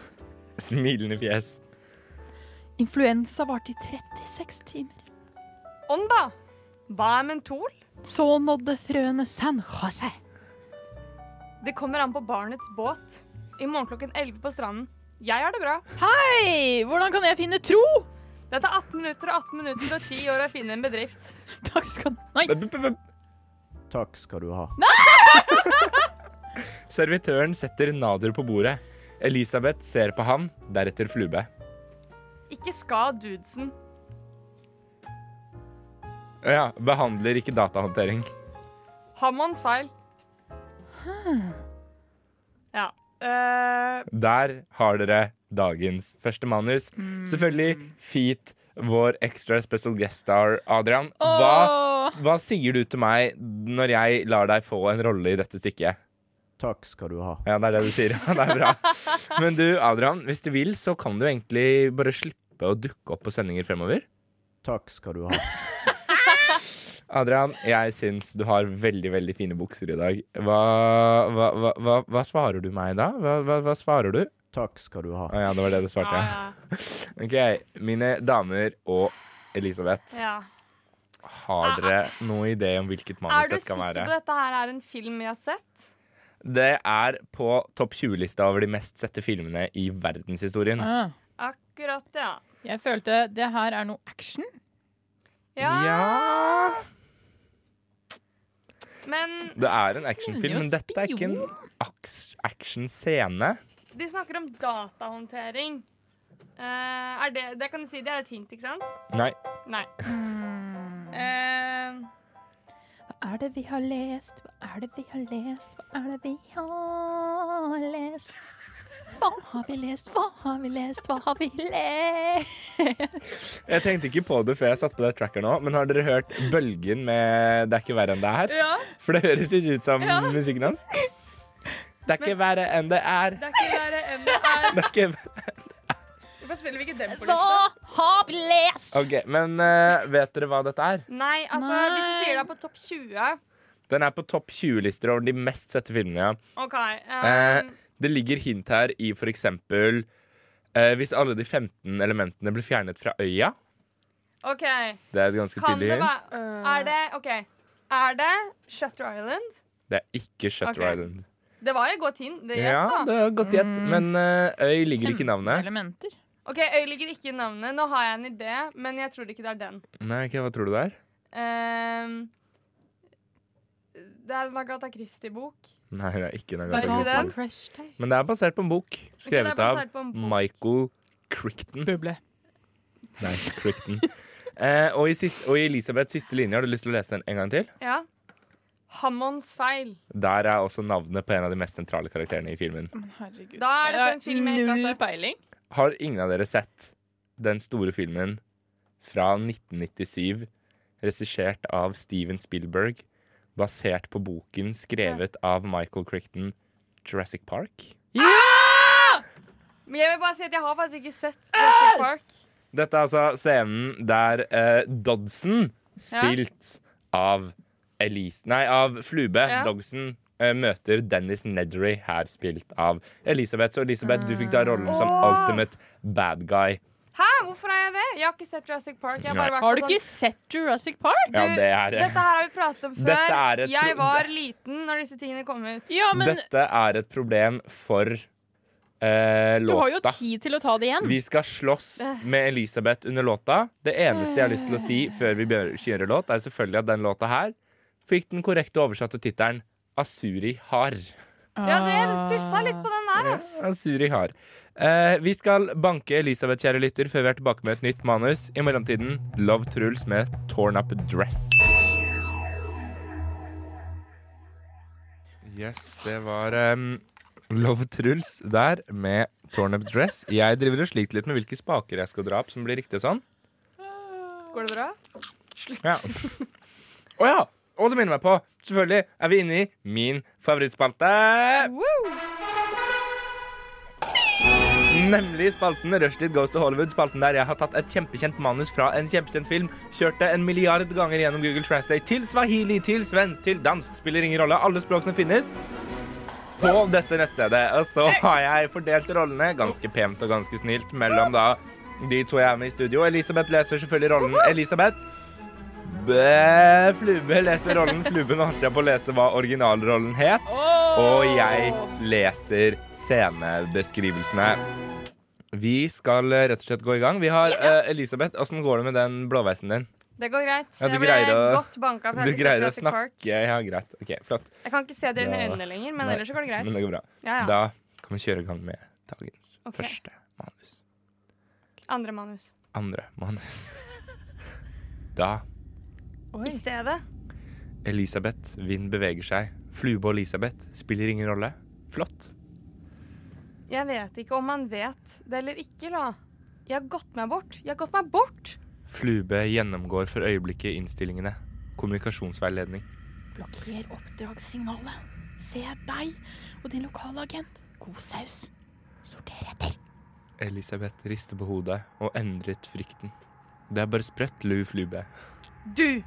Smilende fjes. Influensa varte i 36 timer. Ånd, da! Hva er mentol? Så nådde frøene San Jose. Det kommer an på barnets båt. I morgen klokken 11 på stranden. Jeg har det bra. Hei! Hvordan kan jeg finne tro? Det tar 18 minutter og 18 minutter og 10 år å finne en bedrift. Takk skal Nei! Takk skal du ha. Servitøren setter nader på bordet. Elisabeth ser på han, deretter Flube. Ikke ska dudesen. Ja, behandler ikke datahåndtering. Hammonds feil. Ja. eh, Der har dere dagens første manus. Selvfølgelig feat vår extra special guest star, Adrian. Åh. Hva, hva sier du til meg når jeg lar deg få en rolle i dette stykket? Takk skal du ha. Ja, det er det du sier. Ja, det er bra. Men du, Adrian, hvis du vil, så kan du egentlig bare slippe å dukke opp på sendinger fremover. Takk skal du ha. Adrian, jeg syns du har veldig veldig fine bukser i dag. Hva, hva, hva, hva, hva svarer du meg da? Hva, hva, hva svarer du? Takk skal du ha. Å ja, det var det du svarte. Ja, OK, mine damer og Elisabeth. Ja. Har dere noen idé om hvilket Er manus du dette kan sikker være? på dette her er en film jeg har sett? Det er på topp 20-lista over de mest sette filmene i verdenshistorien. Akkurat, ja. Ah, Jeg følte det her er noe action. Ja. Ja. Men Det er en actionfilm, men Kunne jo dette er ikke en aks- actionscene. de snakker om datahåndtering. Eh, er det, det kan du si, det er et hint, ikke sant? Nei. Nei. Eh, Hva er det vi har lest? Hva er det vi har lest? Hva er det vi har lest? Hva har vi lest? Hva har vi lest? Hva har vi lest? Jeg tenkte ikke på det før jeg satte på det tracker nå, men har dere hørt bølgen med 'Det er ikke verre enn det er'? Ja. For det høres jo ikke ut som Ja. musikken hans. Det er ikke verre enn det er. det er ikke verre enn det er. Det er ikke Hvorfor spiller vi ikke den på Hva lista? har vi lest? OK, men eh, vet dere hva dette er? Nei, altså, hvis du sier det er på topp 20 Den er på topp 20-lister over de mest sette filmene. ja. OK. eh, Eh, det ligger hint her i for eksempel eh, Hvis alle de 15 elementene ble fjernet fra øya. OK. Det er et ganske Kan tydelig det hint. være Er det OK. Er det Shutter Island? Det er ikke Shutter Ok. Island. Det var et godt Mm. hint. Det Ja, gjett, det da. er godt gjett, men eh, øy ligger ikke i navnet. Elementer. OK, Øy ligger ikke i navnet. Nå har jeg en idé, men jeg tror ikke det er den. Nei, ok, Hva tror du det er? Ehm, det er en Agatha Christie-bok. Nei, det er ikke en Var det ikke Agatha den? Christie. Men det er basert på en bok skrevet det er basert på av en bok. Michael Crichton. Nei, Crichton. Eh, og, i sist, og i Elisabeths siste linje, har du lyst til å lese den en gang til? Ja. Hammonds feil. Der er også navnet på en av de mest sentrale karakterene i filmen. Herregud. Da er dette en film jeg ikke har Null sett. peiling. Har ingen av dere sett den store filmen fra 1997, regissert av Steven Spielberg, basert på boken skrevet av Michael Crichton, Jurassic Park? Men jeg vil bare si at jeg har faktisk ikke sett Jurassic Park. Dette er altså scenen der eh, Dodson, spilt av Elise Nei, av Flube. Ja. Dodson eh, møter Dennis Nedry, her spilt av Elisabeth. Så Elisabeth, du fikk da rollen som Åh. ultimate bad guy. Hæ, hvorfor har jeg det? Jeg har ikke sett Jurassic Park. Jeg har, bare Nei. vært Har på du ikke sånn- sett Jurassic Park? Ja, det er Dette her har vi pratet om før. Dette er et Jeg pro- var liten når disse tingene kom ut. Dette er et problem for eh, Du har jo låta. tid til å ta det igjen. Vi skal slåss med Elisabeth under låta. Det eneste jeg har lyst til å si Eh. før vi kjører låt, er selvfølgelig at den låta her fikk den korrekte oversatte tittelen Asuri har. Ja, det stussa litt på den der. ass. Asuri har. Eh, vi skal banke Elisabeth, kjære lytter, før vi er tilbake med et nytt manus. I mellomtiden Love Truls med Torn Up Dress. Yes, det var em, Love Truls der med Torn Up Dress. Jeg driver og sliter litt med hvilke spaker jeg skal dra opp som blir riktig og sånn. Går det bra? Ja. Å ja! Og det minner meg på, selvfølgelig er vi inne i min favorittspalte. Nemlig spalten Rushtid Goes to Hollywood. Spalten der jeg har tatt et kjempekjent manus fra en kjempekjent film, kjørt det en milliard ganger gjennom Google Translate til swahili, til svensk, til dansk, spiller ingen rolle, alle språk som finnes. På dette nettstedet. Og så har jeg fordelt rollene ganske pent og ganske snilt mellom da de to jeg er med i studio. Elisabeth leser selvfølgelig rollen Elisabeth. Be Flube leser rollen Fluben holdt jeg på å lese hva originalrollen het. Og jeg leser scenebeskrivelsene. Vi skal eh, rett og slett gå i gang. Vi har eh, Elisabeth, åssen går det med den blåveisen din? Det går greit. Ja, du jeg ble greier å- godt banka. for jeg har Du ikke sett greier å Jurassic Park. snakke? Ja, greit. OK, flott. Jeg kan ikke se dere Da- i øynene lenger, men Nei, ellers så går det greit. Men det går bra. Ja, ja. Da kan vi kjøre i gang med dagens Ok. første manus. Andre manus. Andre manus. da I stedet. Elisabeth, vind beveger seg. Flube og Elisabeth spiller ingen rolle. Flott. Jeg vet ikke om man vet det eller ikke, da. Jeg har gått meg bort. Jeg har gått meg bort Flube gjennomgår for øyeblikket innstillingene. Kommunikasjonsveiledning. Blokker oppdragssignalet. Se deg og din lokale agent. God saus. Sorter etter. Elisabeth rister på hodet og endret frykten. Det er bare sprøtt, Lou Flube. Du!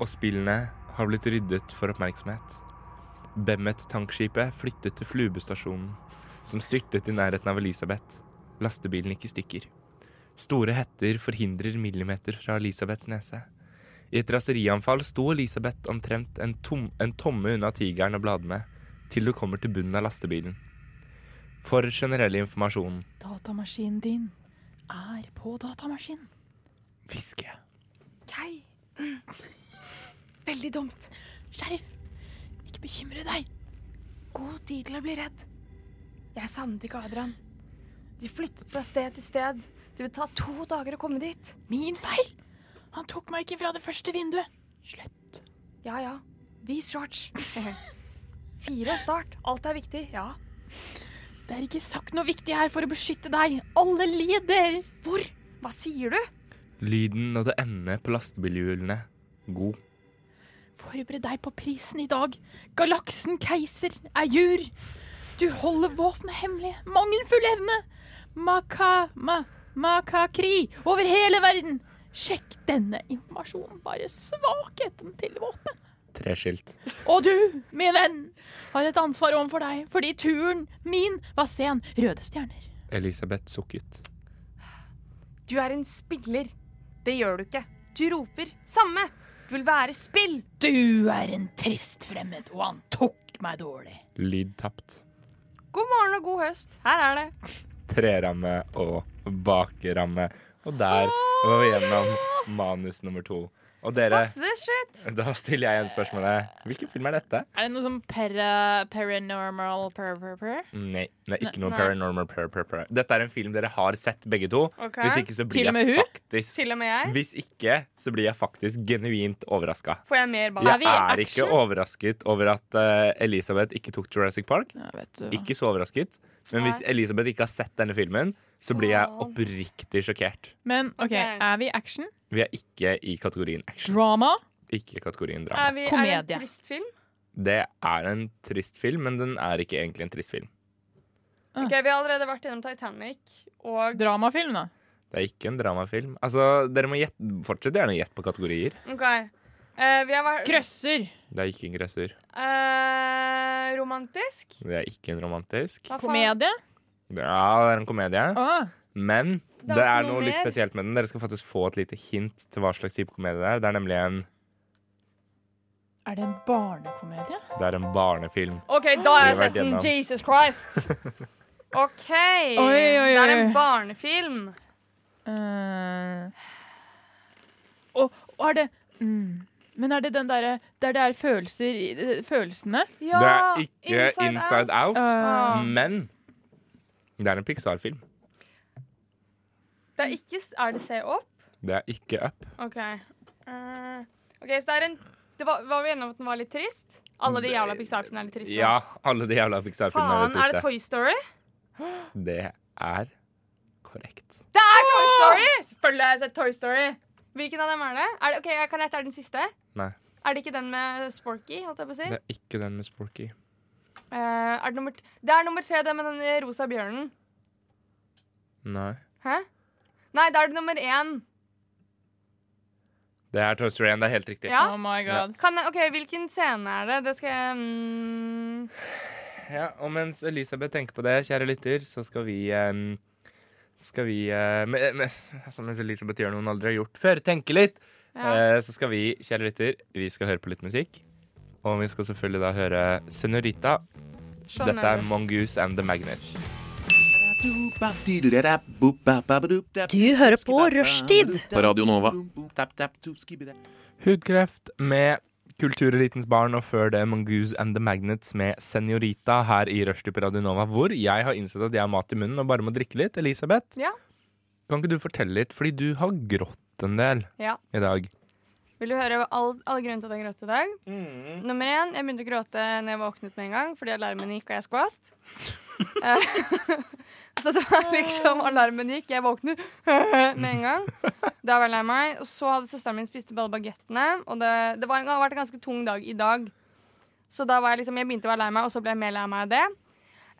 Og spillene har blitt ryddet for oppmerksomhet. Bemet-tankskipet flyttet til Flubestasjonen, som styrtet i nærheten av Elisabeth. Lastebilen gikk i stykker. Store hetter forhindrer millimeter fra Elisabeths nese. I et raserianfall sto Elisabeth omtrent en, tom, en tomme unna tigeren og bladene, til du kommer til bunnen av lastebilen. For generell informasjon Datamaskinen din er på datamaskinen. Hviske. Kei. Veldig dumt. Sheriff, ikke bekymre deg. God tid til å bli redd. Jeg savnet ikke Adrian. De flyttet fra sted til sted. Det vil ta to dager å komme dit. Min feil! Han tok meg ikke fra det første vinduet. Slutt. Ja ja. Vis shorts. Fire og start. Alt er viktig. Ja. Det er ikke sagt noe viktig her for å beskytte deg. Alle lider. Hvor? Hva sier du? Lyden nådde endene på lastebilhjulene. God. Forbered deg på prisen i dag. Galaksen keiser er jur. Du holder våpenet hemmelig. Mangelfull evne. Maka... Ma, makakri over hele verden. Sjekk denne informasjonen. Bare svakheten til våpen. Treskilt. Og du, min venn, har et ansvar overfor deg, fordi turen min var sen. Røde stjerner. Elisabeth sukket. Du er en spiller. Det gjør du ikke. Du roper. Samme. Du vil være spill. Du er en trist fremmed, og han tok meg dårlig. Lyd tapt. God morgen og god høst. Her er det. Treramme og bakramme. Og der var vi gjennom manus nummer to. Og dere, Fuck this shit. da stiller jeg igjen spørsmålet. Hvilken film er dette? Er det noe som para, paranormal per, per, per? Nei, det er ikke noe Nei. paranormal per, per, per. Dette er en film dere har sett begge to. Ok. Hvis ikke så blir Til og med jeg hun? faktisk Til og med jeg? Hvis ikke så blir jeg faktisk genuint overraska. Får jeg mer ball? Jeg er ikke overrasket over at eh, Elisabeth ikke tok Jurassic Park. Ikke så overrasket. Men hvis Nei. Elisabeth ikke har sett denne filmen, så blir jeg oppriktig sjokkert. Men OK, er vi i action? Vi er ikke i kategorien action. Drama? Ikke kategorien drama. Er, vi, er det Komedie. en trist film? Det er en trist film, men den er ikke egentlig en trist film. Ok, Vi har allerede vært gjennom Titanic og Dramafilm, da? Det er ikke en dramafilm. Altså, Dere må gjette, fortsette gjerne å gjette på kategorier. Ok. Eh, vi har vært Krøsser. Det er ikke en grøsser. Eh, romantisk. Det er ikke en romantisk. Hva faen? Komedie? Ah. Ja, det er en komedie. Men det Danse er noe noe litt mer? spesielt med den. Dere skal faktisk få et lite hint til hva slags type komedie det er. Det er nemlig en, Er det en barnekomedie? det er en barnefilm. OK, da Vi har har jeg vært sett den. gjennom. Jesus Christ. OK. oi, Det er oi. en barnefilm. Eh, og, og er det mm, Men er det den derre der det er følelser i- eh, Følelsene? det er ikke Inside, Out, Ah. men det er en Pixar-film. Det er ikke Er det Se opp? Det er ikke Up. OK. Eh, ok, Så det er en det var, var vi enige om at den var litt trist? Alle de jævla Pixar-filmene er litt triste. Ja, alle de jævla Pixar-filmene Faen, er er det det Toy Story? triste. Det er Det er Toy Story! Selvfølgelig har jeg sett Toy Story. Hvilken av dem er det? Er det ok, jeg kan gjette, er det den siste? Nei, Er det ikke den med Sporky? holdt jeg på å si? det er ikke den med Sporky. Eh, er det, nummer t det er nummer tre, det med den rosa bjørnen. Nei. Hæ? Nei, da er det nummer én. Det er Toy Story 1, det er helt riktig. Oh Ja? Ja. Kan jeg, ok, Hvilken scene er det? Det skal jeg mm, Ja, og mens Elisabeth tenker på det, kjære lytter, så skal vi ehm, Skal vi eh, men, men, altså, Mens Elisabeth gjør noe hun aldri har gjort før, tenke litt, Ja. eh, så skal vi, kjære lytter, vi skal høre på litt musikk. Og vi skal selvfølgelig da høre Senorita. Sånn Shawn Dette er Mendes. Mongoose and the Magnet. Du hører på Rushtid. På Radio Nova. Hudkreft med Kulturelitens barn, og før det Mongoose and the Magnets med Senorita her i Rushdie på Radio Nova, hvor jeg har innsett at jeg har mat i munnen og bare må drikke litt. Elisabeth, ja. kan ikke du fortelle litt? Fordi du har grått en del ja. i dag. Vil du høre all, all grunnen til at jeg gråt i dag? Nummer én, jeg begynte å gråte når jeg våknet med en gang fordi alarmen gikk og jeg skvatt. Eh, så det var liksom Alarmen gikk, jeg våkner med en gang. Da var jeg lei meg. Og så hadde søsteren min spist opp alle bagettene. Og det, det, var, en- det har vært en ganske tung dag i dag. Så da var jeg liksom Jeg begynte å være lei meg, og så ble jeg mer lei meg av det.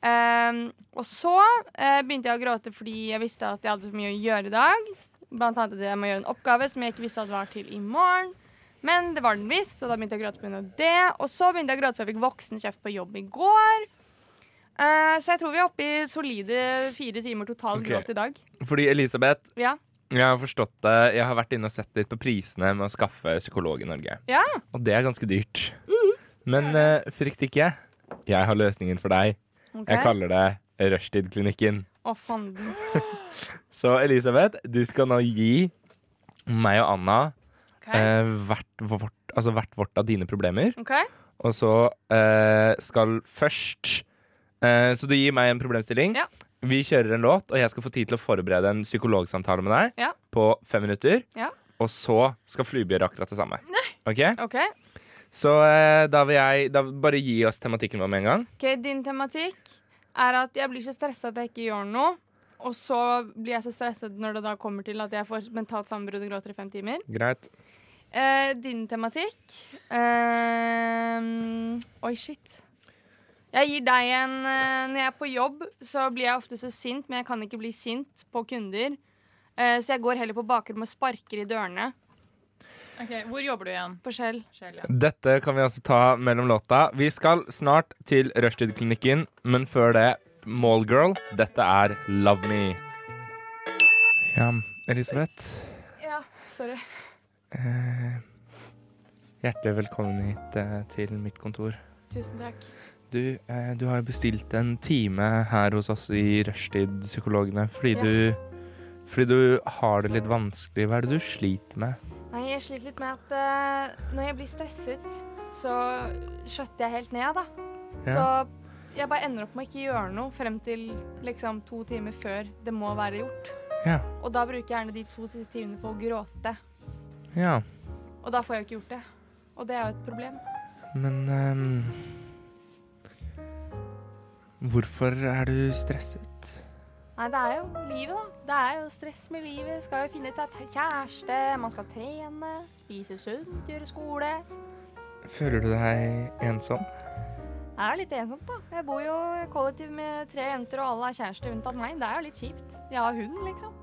Ehm, og så eh, begynte jeg å gråte fordi jeg visste at jeg hadde så mye å gjøre i dag. Blant annet at jeg må gjøre en oppgave som jeg ikke visste at var til i morgen. Men det var den visst, så da begynte jeg å gråte pga. det. Og så begynte jeg å gråte for jeg fikk voksen kjeft på jobb i går. Eh, så jeg tror vi er oppe i solide fire timer total Ok. gråt i dag. Fordi Elisabeth, Ja. jeg har forstått det Jeg har vært inne og sett litt på prisene med å skaffe psykolog i Norge. Ja. Og det er ganske dyrt. Mm. Men eh, frykt ikke. Jeg har løsningen for deg. Ok. Jeg kaller det Rushtid-klinikken. Å, fanden. Så Elisabeth, du skal nå gi meg og Anna eh, hvert, vårt, altså hvert vårt av dine problemer. OK? Og så eh, skal først eh, Så du gir meg en problemstilling. Vi kjører en låt, og jeg skal få tid til å forberede en psykologsamtale med deg Ja. på fem minutter. Ja. Og så skal Flybjørn akkurat det samme. Ok? OK, Så eh, da vil jeg da Bare gi oss tematikken vår med en gang. Ok, Din tematikk er at jeg blir så stressa at jeg ikke gjør noe. Og så blir jeg så stresset når det da kommer til at jeg får mentalt sammenbrudd og gråter i fem timer. Greit. Eh, din tematikk Ehm, Oi, shit. Jeg gir deg en eh, Når jeg er på jobb, så blir jeg ofte så sint, men jeg kan ikke bli sint på kunder. Eh, så jeg går heller på bakrommet og sparker i dørene. Ok, Hvor jobber du igjen? På Skjell. Dette kan vi altså ta mellom låta. Vi skal snart til Rushtid-klinikken, men før det Mallgirl. Dette er Love Me. Ja, Elisabeth. Ja, sorry. Eh, hjertelig velkommen hit eh, til mitt kontor. Tusen takk. Du, eh, du har jo bestilt en time her hos oss i Rushtid-psykologene fordi, Ja. du, fordi du har det litt vanskelig. Hva er det du sliter med? Nei, jeg sliter litt med at eh, når jeg blir stresset, så skjøtter jeg helt ned, da. Ja. Så jeg bare ender opp med å ikke gjøre noe frem til liksom to timer før det må være gjort. Ja. Og da bruker jeg gjerne de to siste timene på å gråte. Ja, Og da får jeg jo ikke gjort det. Og det er jo et problem. men ehm, Hvorfor er du stresset? Nei, det er jo livet, da. Det er jo stress med livet. Skal jo finne seg t- kjæreste, man skal trene, spise sunt, gjøre skole. Føler du deg ensom? Det er jo litt ensomt, da. Jeg bor jo i kollektiv med tre jenter, og alle er kjærester unntatt meg. Det er jo litt kjipt. Jeg har hund, liksom.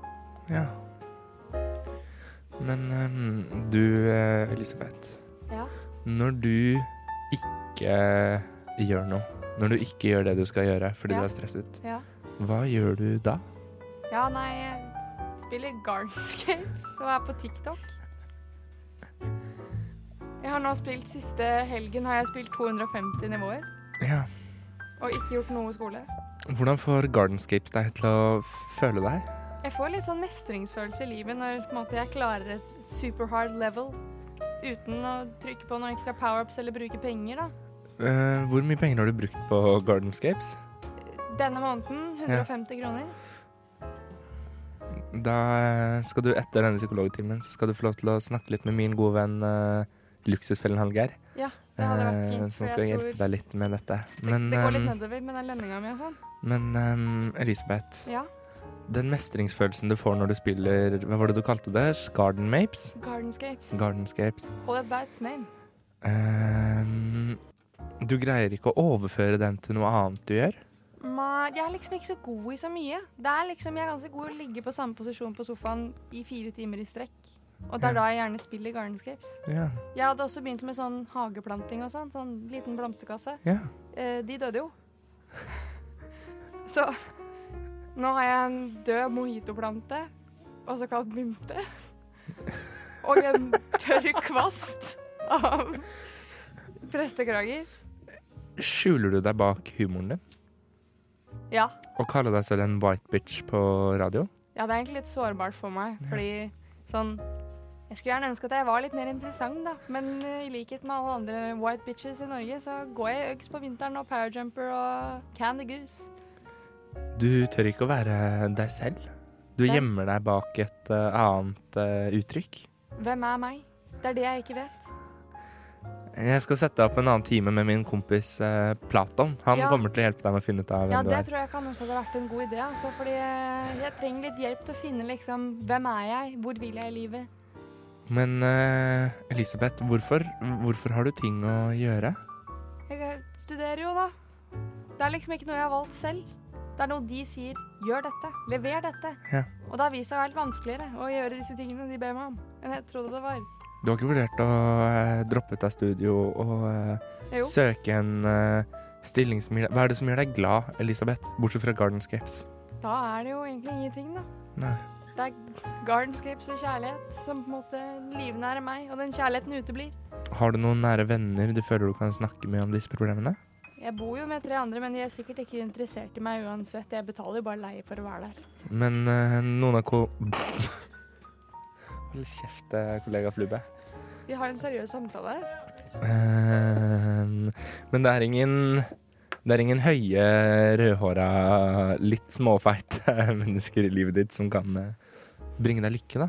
Ja. Men ehm, du, eh, Elisabeth. Ja. Når du ikke gjør noe, når du ikke gjør det du skal gjøre fordi Ja. du er stresset, Ja. hva gjør du da? Ja, nei, jeg spiller Gardenscapes og er på TikTok. Jeg har nå spilt siste helgen har jeg spilt 250 nivåer Ja. og ikke gjort noe skole. Hvordan får Gardenscapes deg til å f- føle deg? Jeg får litt sånn mestringsfølelse i livet når på en måte, jeg klarer et super hard level uten å trykke på noen ekstra power-ups eller bruke penger. da. Eh, hvor mye penger har du brukt på Gardenscapes? Denne måneden 150 kroner. Da eh, skal du etter denne psykologtimen så skal du få lov til å snakke litt med min gode venn eh, Luksusfellen Hallgeir. Ja, det hadde vært eh, fint, for som jeg skal tror- hjelpe deg litt med dette. det går litt ehm, nedover med den lønninga mi og sånn. Men ehm, Elisabeth, Ja. den mestringsfølelsen du får når du spiller Hva var det du kalte det? Garden Mapes? Gardenscapes. Gardenscapes. Call it by its name. Ehm, du greier ikke å overføre den til noe annet du gjør? Ma, jeg er liksom ikke så god i så mye. Det er liksom, Jeg er ganske god i å ligge på samme posisjon på sofaen i fire timer i strekk. Og det er Ja. da jeg gjerne spiller Gardenscapes. Ja. Jeg hadde også begynt med sånn hageplanting og sånn. Sånn liten blomsterkasse. Ja. Eh, de døde jo. så nå har jeg en død mojitoplante, også kalt mynte, og en tørr kvast av prestekrager. Skjuler du deg bak humoren din? Ja. Og kaller deg selv en white bitch på radio? Ja, det er egentlig litt sårbart for meg, fordi sånn Jeg skulle gjerne ønske at jeg var litt mer interessant, da, men eh, i likhet med alle andre white bitches i Norge, så går jeg i øks på vinteren og powerjumper og candy goose. Du tør ikke å være deg selv? Du Nei. gjemmer deg bak et eh, annet eh, uttrykk? Hvem er meg? Det er det jeg ikke vet. Jeg skal sette opp en annen time med min kompis eh, Platon. Han Ja. kommer til å hjelpe deg med å finne ut av hvem Ja, du det er. tror jeg kan også hadde vært en god idé. Altså, fordi eh, jeg trenger litt hjelp til å finne liksom Hvem er jeg? Hvor vil jeg i livet? Men eh, Elisabeth, hvorfor, hvorfor har du ting å gjøre? Jeg studerer jo, da. Det er liksom ikke noe jeg har valgt selv. Det er noe de sier 'gjør dette', 'lever dette'. Ja. Og det har vist seg å være vanskeligere å gjøre disse tingene de ber meg om, enn jeg trodde det var. Du har ikke vurdert å eh, droppe ut av studio og eh, Jo. søke en eh, stilling som gir deg Hva er det som gjør deg glad, Elisabeth? Bortsett fra Gardenscapes. Da er det jo egentlig ingenting, da. Nei. Det er gardenscapes og kjærlighet som på en måte livnærer meg, og den kjærligheten uteblir. Har du noen nære venner du føler du kan snakke med om disse problemene? Jeg bor jo med tre andre, men de er sikkert ikke interessert i meg uansett. Jeg betaler jo bare leie for å være der. Men eh, noen av ko... Hold kjeft, eh, kollega Flubbe. Vi har jo en seriøs samtale her. Ehm, men det er ingen det er ingen høye, rødhåra, litt småfeite mennesker i livet ditt som kan eh, bringe deg lykke, da.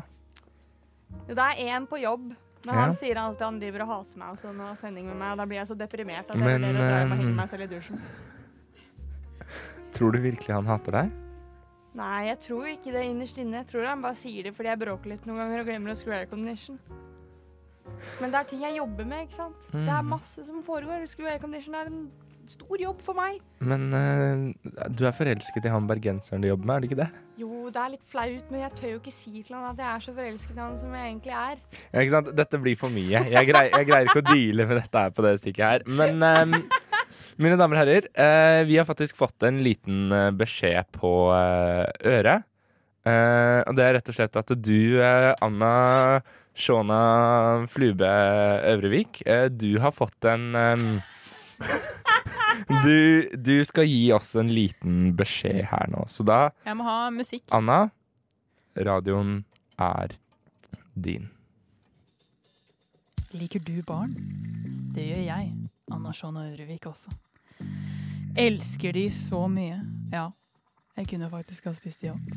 Det er én på jobb, men Ja. han sier alltid han driver og hater meg og sånn og har sending med meg, og da blir jeg så deprimert at jeg Men, vurderer å dra hjem og ehm, henge meg selv i dusjen. Tror du virkelig han hater deg? Nei, jeg tror ikke det innerst inne. Jeg tror han bare sier det fordi jeg bråker litt noen ganger og glemmer å skru air condition. Men det er ting jeg jobber med, ikke sant. Det er Mm. masse som foregår. Skru air condition er en stor jobb for meg. Mm. Men eh, du er forelsket i han bergenseren du jobber med, er du ikke det? Jo, det er litt flaut, men jeg tør jo ikke si til han at jeg er så forelsket i han som jeg egentlig er. Ja, ikke sant? Dette blir for mye. Jeg greier, jeg greier ikke å deale med dette her på det stikket her. Men ehm, mine damer og herrer, eh, vi har faktisk fått en liten eh, beskjed på eh, øret. Eh, og det er rett og slett at du, eh, Anna Shona Flube Øvrevik, eh, du har fått en ehm, du, du skal gi oss en liten beskjed her nå. Så da, Jeg må ha musikk. Anna, radioen er din. Liker du barn? Det gjør jeg, Andersson og Ørevik også. Elsker de så mye. Ja, jeg kunne faktisk ha spist de opp.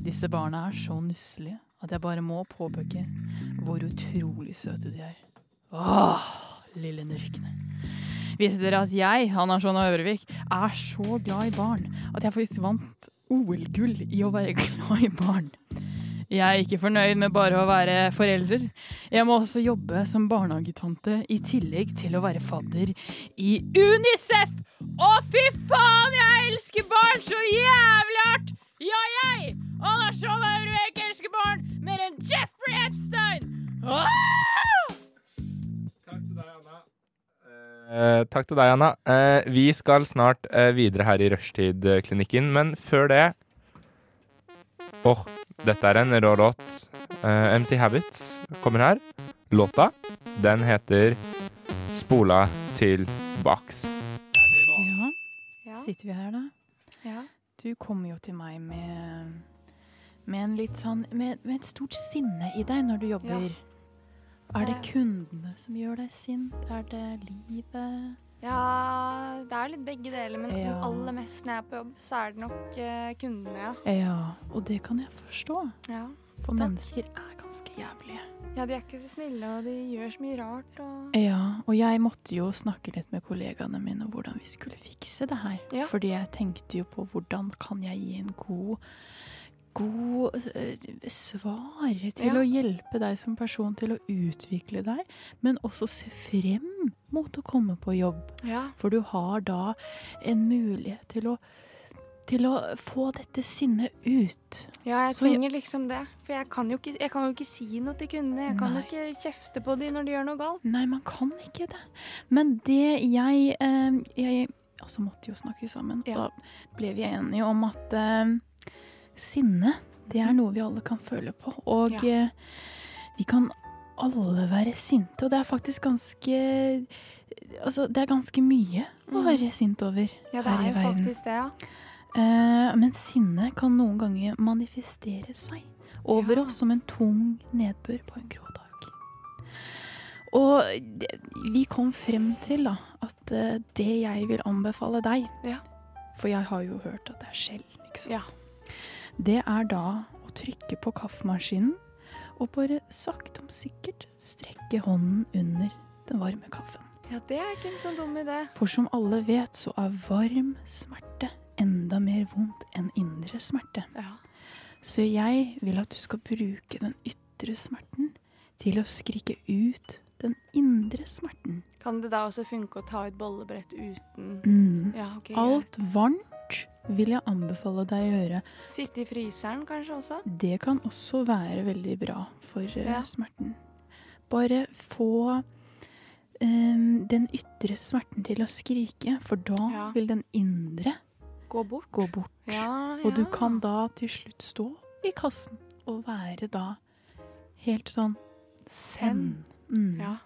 Disse barna er så nusselige at jeg bare må påpeke hvor utrolig søte de er. Åh, lille nurkene. Visste dere at jeg, Andersson og Ørevik, er så glad i barn at jeg faktisk vant OL-gull i å være glad i barn? Jeg er ikke fornøyd med bare å være forelder. Jeg må også jobbe som barnehagetante i tillegg til å være fadder i UNICEF! Å, fy faen, jeg elsker barn så jævlig hardt! Ja, jeg! Anders Jolle Aurvik elsker barn mer enn Jeffrey Epstein! Åh! Eh, takk til deg, Anna. Eh, vi skal snart eh, videre her i Rushtid-klinikken, men før det Åh, dette er en rå låt. Eh, MC Habits kommer her. Låta, den heter Spola til baks. Ja. Sitter vi her, da? Ja. Du kom jo til meg med, med en litt sånn med, med et stort sinne i deg når du jobber. Er det Det- kundene som gjør deg sint? Er det livet? Ja, det er litt begge deler, men Ja. aller mest når jeg er på jobb, så er det nok eh, kundene, ja. Ja, og det kan jeg forstå. Ja. For mennesker er ganske jævlige. ja, de er ikke så snille, og de gjør så mye rart. Og... Ja, og jeg måtte jo snakke litt med kollegaene mine om hvordan vi skulle fikse det her. Ja. Fordi jeg tenkte jo på hvordan kan jeg gi en god god eh, svar til Ja. å hjelpe deg som person til å utvikle deg, men også se frem mot å komme på jobb. Ja. For du har da en mulighet til å, til å få dette sinnet ut. Ja, jeg Så jeg- trenger liksom det. For jeg kan, jo ikke, jeg kan jo ikke si noe til kundene. Jeg kan jo ikke kjefte på de når de gjør noe galt. Nei, man kan ikke det. Men det jeg eh, Jeg altså måtte jo snakke sammen. Da ble vi enige om at eh, sinne, det er noe vi alle kan føle på. Og Ja. eh, vi kan alle være sinte, og det er faktisk ganske Altså, det er ganske mye å Mm. være sint over Ja, det her er i jo verden. faktisk det, ja. Eh, men sinne kan noen ganger manifestere seg over oss som en tung nedbør på en grå dag. Og det, vi kom frem til da, at eh, det jeg vil anbefale deg, for jeg har jo hørt at det er skjell, ikke sant? det er da å trykke på kaffemaskinen og bare sakte, men sikkert strekke hånden under den varme kaffen. Ja, det er ikke en så dum idé. For som alle vet, så er varm smerte enda mer vondt enn indre smerte. Så jeg vil at du skal bruke den ytre smerten til å skrike ut den indre smerten. Kan det da også funke å ta ut bollebrett uten Mm. Ja, ok. greit. Alt varmt vil jeg anbefale deg å gjøre. Sitte i fryseren kanskje også? Det kan også være veldig bra for eh, Ja. smerten. Bare få em, den ytre smerten til å skrike, for da Ja. vil den indre Gå bort. gå bort. Ja, Og du ja. kan da til slutt stå i kassen og være da helt sånn zen. Mm. Ja.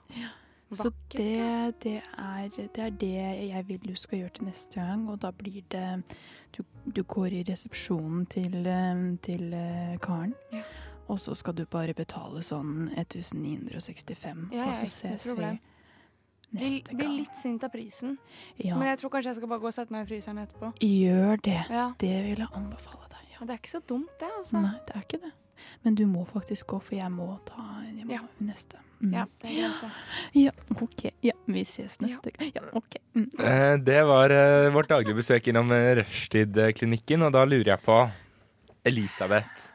Så Vakkert, det, det, er, det er det jeg vil du skal gjøre til neste gang, og da blir det Du, du går i resepsjonen til, eh, til eh, karen, og så skal du bare betale sånn 1965, Ja, og så ja, ikke noe ses vi. problem. Bli, bli litt sint av prisen. Ja. Men jeg tror kanskje jeg skal bare gå og sette meg i fryseren etterpå. Gjør det. Ja. Det vil jeg anbefale. Men det er ikke så dumt, det, altså. Nei, det er ikke det. Men du må faktisk gå, for jeg må ta jeg må Ja. neste. Mm. Ja, det er greit, det. Ja, OK. Ja, vi ses neste gang. Ja, OK. Mm. Eh, Det var eh, vårt daglige besøk innom eh, Rushtid-klinikken, og da lurer jeg på Elisabeth.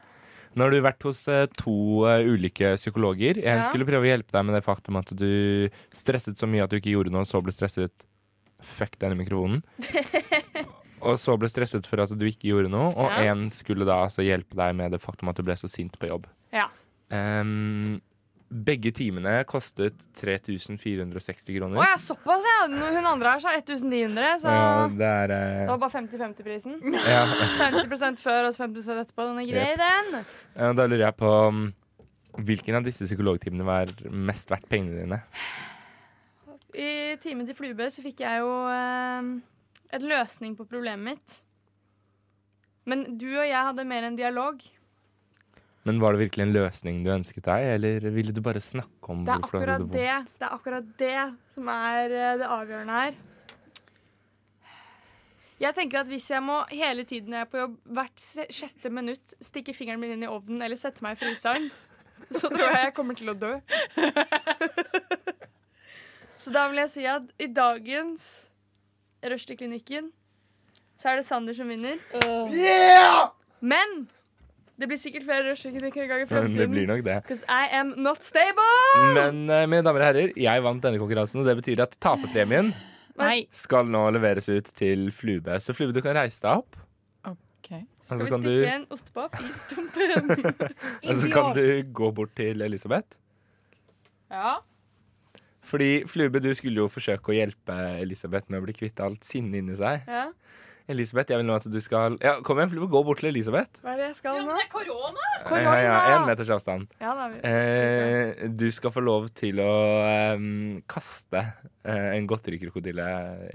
Nå har du vært hos eh, to eh, ulike psykologer. Jeg Ja. skulle prøve å hjelpe deg med det faktum at du stresset så mye at du ikke gjorde noe, og så ble stresset Fuck denne mikrofonen. Og så ble stresset for at du ikke gjorde noe, og Ja. én skulle da altså hjelpe deg med det faktum at du ble så sint på jobb. Ja. Ehm, begge timene kostet 3460 kroner. Å ja, altså. såpass, ja. Nå- Hun andre her sa 1900, så Ja, det er eh, det var bare 50-50-prisen. Ja. 50 før og så 50 etterpå. Den er Jep. grei, den. Ja, Da lurer jeg på mm, hvilken av disse psykologtimene var mest verdt pengene dine? I timen til Flubø så fikk jeg jo eh, et løsning på problemet mitt. Men du og jeg hadde mer en dialog. Men var det virkelig en løsning du ønsket deg, eller ville du bare snakke om Det er hvorfor du hadde akkurat vondt? det, det er akkurat det som er eh, det avgjørende her. Jeg tenker at Hvis jeg må hele tiden jeg er på jobb, hvert se- sjette minutt stikke fingeren min inn i ovnen eller sette meg i fryseren, så tror jeg jeg kommer til å dø. Så da vil jeg si at i dagens Rushdie-klinikken så er det Sander som vinner. Yeah! Men det blir sikkert flere Rushdie-klinikker en gang i Men fremtiden. det blir nok det. Because I am not stable! Men eh, mine damer og herrer, jeg vant denne konkurransen, og det betyr at taperpremien Nei. skal nå leveres ut til Flube. Så Flube, du kan reise deg opp. Og så Altså, Skal vi kan stikke du- en ostepop i stumpen? Og så Altså, kan du gå bort til Elisabeth. Ja. Fordi Flube, du skulle jo forsøke å hjelpe Elisabeth med å bli kvitt alt sinnet inni seg. Ja. Elisabeth, jeg vil nå at du skal Ja, kom igjen, Flube, gå bort til Elisabeth. Eh, Hva er det jeg skal nå? det er korona! Ja, ja, en meters avstand. Ja, da er vi- Eh, du skal få lov til å ehm, kaste eh, en godterikrokodille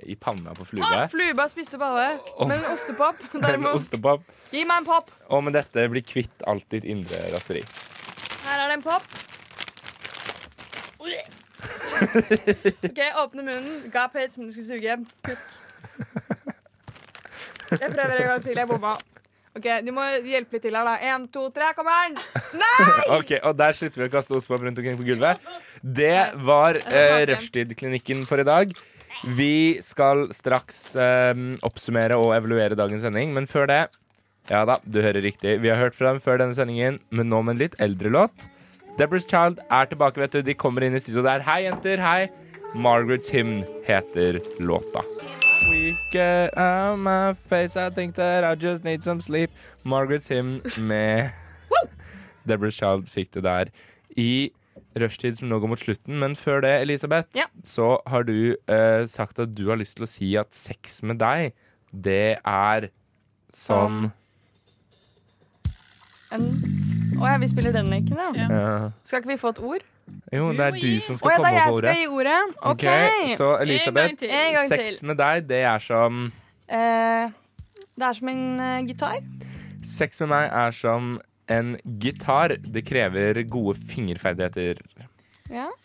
i panna på flue. Ah, Flube spiste balle, Åh. men ostepop En derimot. ostepop. Gi meg en pop. Og med dette blir kvitt alt ditt indre raseri. Her er det en pop. OK, åpne munnen. Gap it som du skulle suge. Kukk. Jeg prøver en gang til. Jeg bomma. OK, du må hjelpe litt til her, da. Én, to, tre, kommer den! Nei! Ok, Og der slutter vi å kaste ostepop rundt omkring på gulvet. Det var eh, Rushtid-klinikken for i dag. Vi skal straks ehm, oppsummere og evaluere dagens sending, men før det Ja da, du hører riktig. Vi har hørt fra dem før denne sendingen, men nå med en litt eldre låt. Deborah's Child er tilbake, vet du. De kommer inn i studio der. Hei, jenter. Hei. Margaret's Hymn heter låta. We get out my face, I think that I just need some sleep. Margaret's Hymn med Deborah's Child fikk du der i rushtid som nå går mot slutten. Men før det, Elisabeth, Ja. så har du eh, sagt at du har lyst til å si at sex med deg, det er sånn, som En... Å ja, vi spiller den leken, ja. Ja. Skal ikke vi få et ord? Jo, det er du som skal Å ja, komme da på jeg ordet. skal gi ordet. OK. Ok, Så Elisabeth, En gang til. sex med deg, det er som Eh, det er som en eh, gitar. Sex med meg er som en gitar. Det krever gode fingerferdigheter.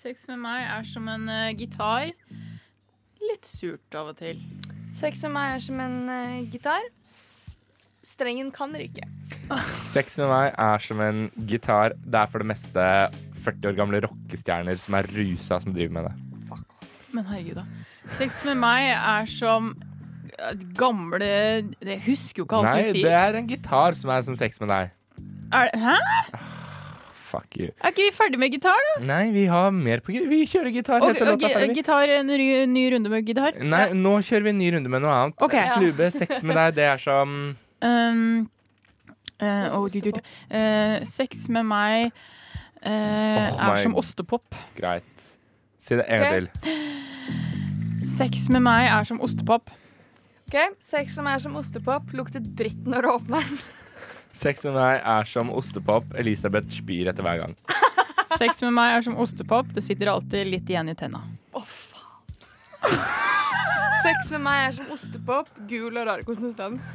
Sex med meg er som en eh, gitar. Litt surt av og til. Sex med meg er som en eh, gitar. S strengen kan ryke. Sex med meg er som en gitar. Det er for det meste 40 år gamle rockestjerner som er rusa, som driver med det. Men herregud, da. Sex med meg er som eh, gamle Jeg husker jo ikke alt Nei, det du sier. er en gitar som er som sex med deg. Er, hæ? Fuck you. Er ikke vi ferdig med gitar, da? Nei, vi har mer på gi- Vi kjører gitar. Og, helt til og, låta er ferdig. gitar, en ny, ny runde med gitar? Nei, nå kjører vi en ny runde med noe annet. Eh, Ok. Flube, sex med deg, det er som Um, eh, oh, du, du, du. Eh, sex med meg eh, Åh, er my- som ostepop. Greit. Si det en gang Ok. til. Sex med meg er som ostepop. Ok, Sex som er som ostepop, lukter dritt når du åpner den. Sex med meg er som ostepop. Elisabeth spyr etter hver gang. Sex med meg er som ostepop. Det sitter alltid litt igjen i tenna. Sex med meg er som ostepop, gul og rar konsistens.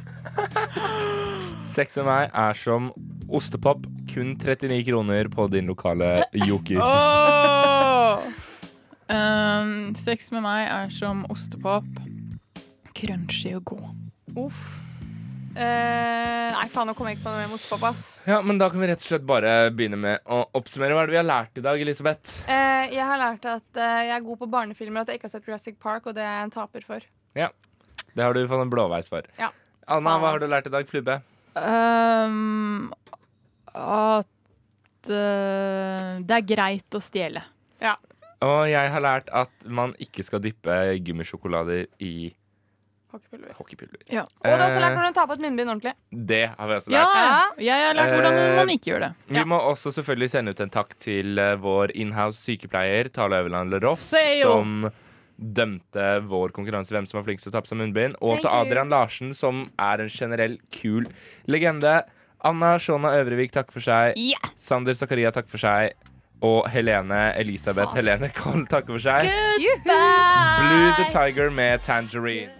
Sex med meg er som ostepop. Kun 39 kroner på din lokale joker. Åh! Um, sex med meg er som ostepop. Crunchy og god. Uff. Eh, nei, faen, nå kommer jeg ikke på noe mer med ostepop, ass. Ja, men da kan vi rett og slett bare begynne med å oppsummere. Hva er det vi har lært i dag, Elisabeth? Eh, jeg har lært at eh, jeg er god på barnefilmer, og at jeg ikke har sett Jurassic Park, og det er jeg en taper for. Ja. Det har du fått en blåveis for. Ja. Anna, hva har du lært i dag, Flube? Um, at eh, det er greit å stjele. Ja. Og jeg har lært at man ikke skal dyppe gummisjokolader i Hockeypulver. hockeypulver. Og du har også Eh, lært hvordan du tar på et munnbind ordentlig. Det har vi også Ja, lært. jeg har lært hvordan man ikke gjør det. Eh, Vi må også selvfølgelig sende ut en takk til eh, vår inhouse sykepleier Tale Øverland Leroff, Say yo. som dømte vår konkurranse hvem som var flinkest til å ta på seg munnbind, og Thank til you. Adrian Larsen, som er en generell kul legende. Anna Shona Øvrevik, takk for seg. Ja. Sander Zakaria, takk for seg. Og Helene Elisabeth Helene Koll, takk for seg. Goodbye! Blue the Tiger med Tangerine.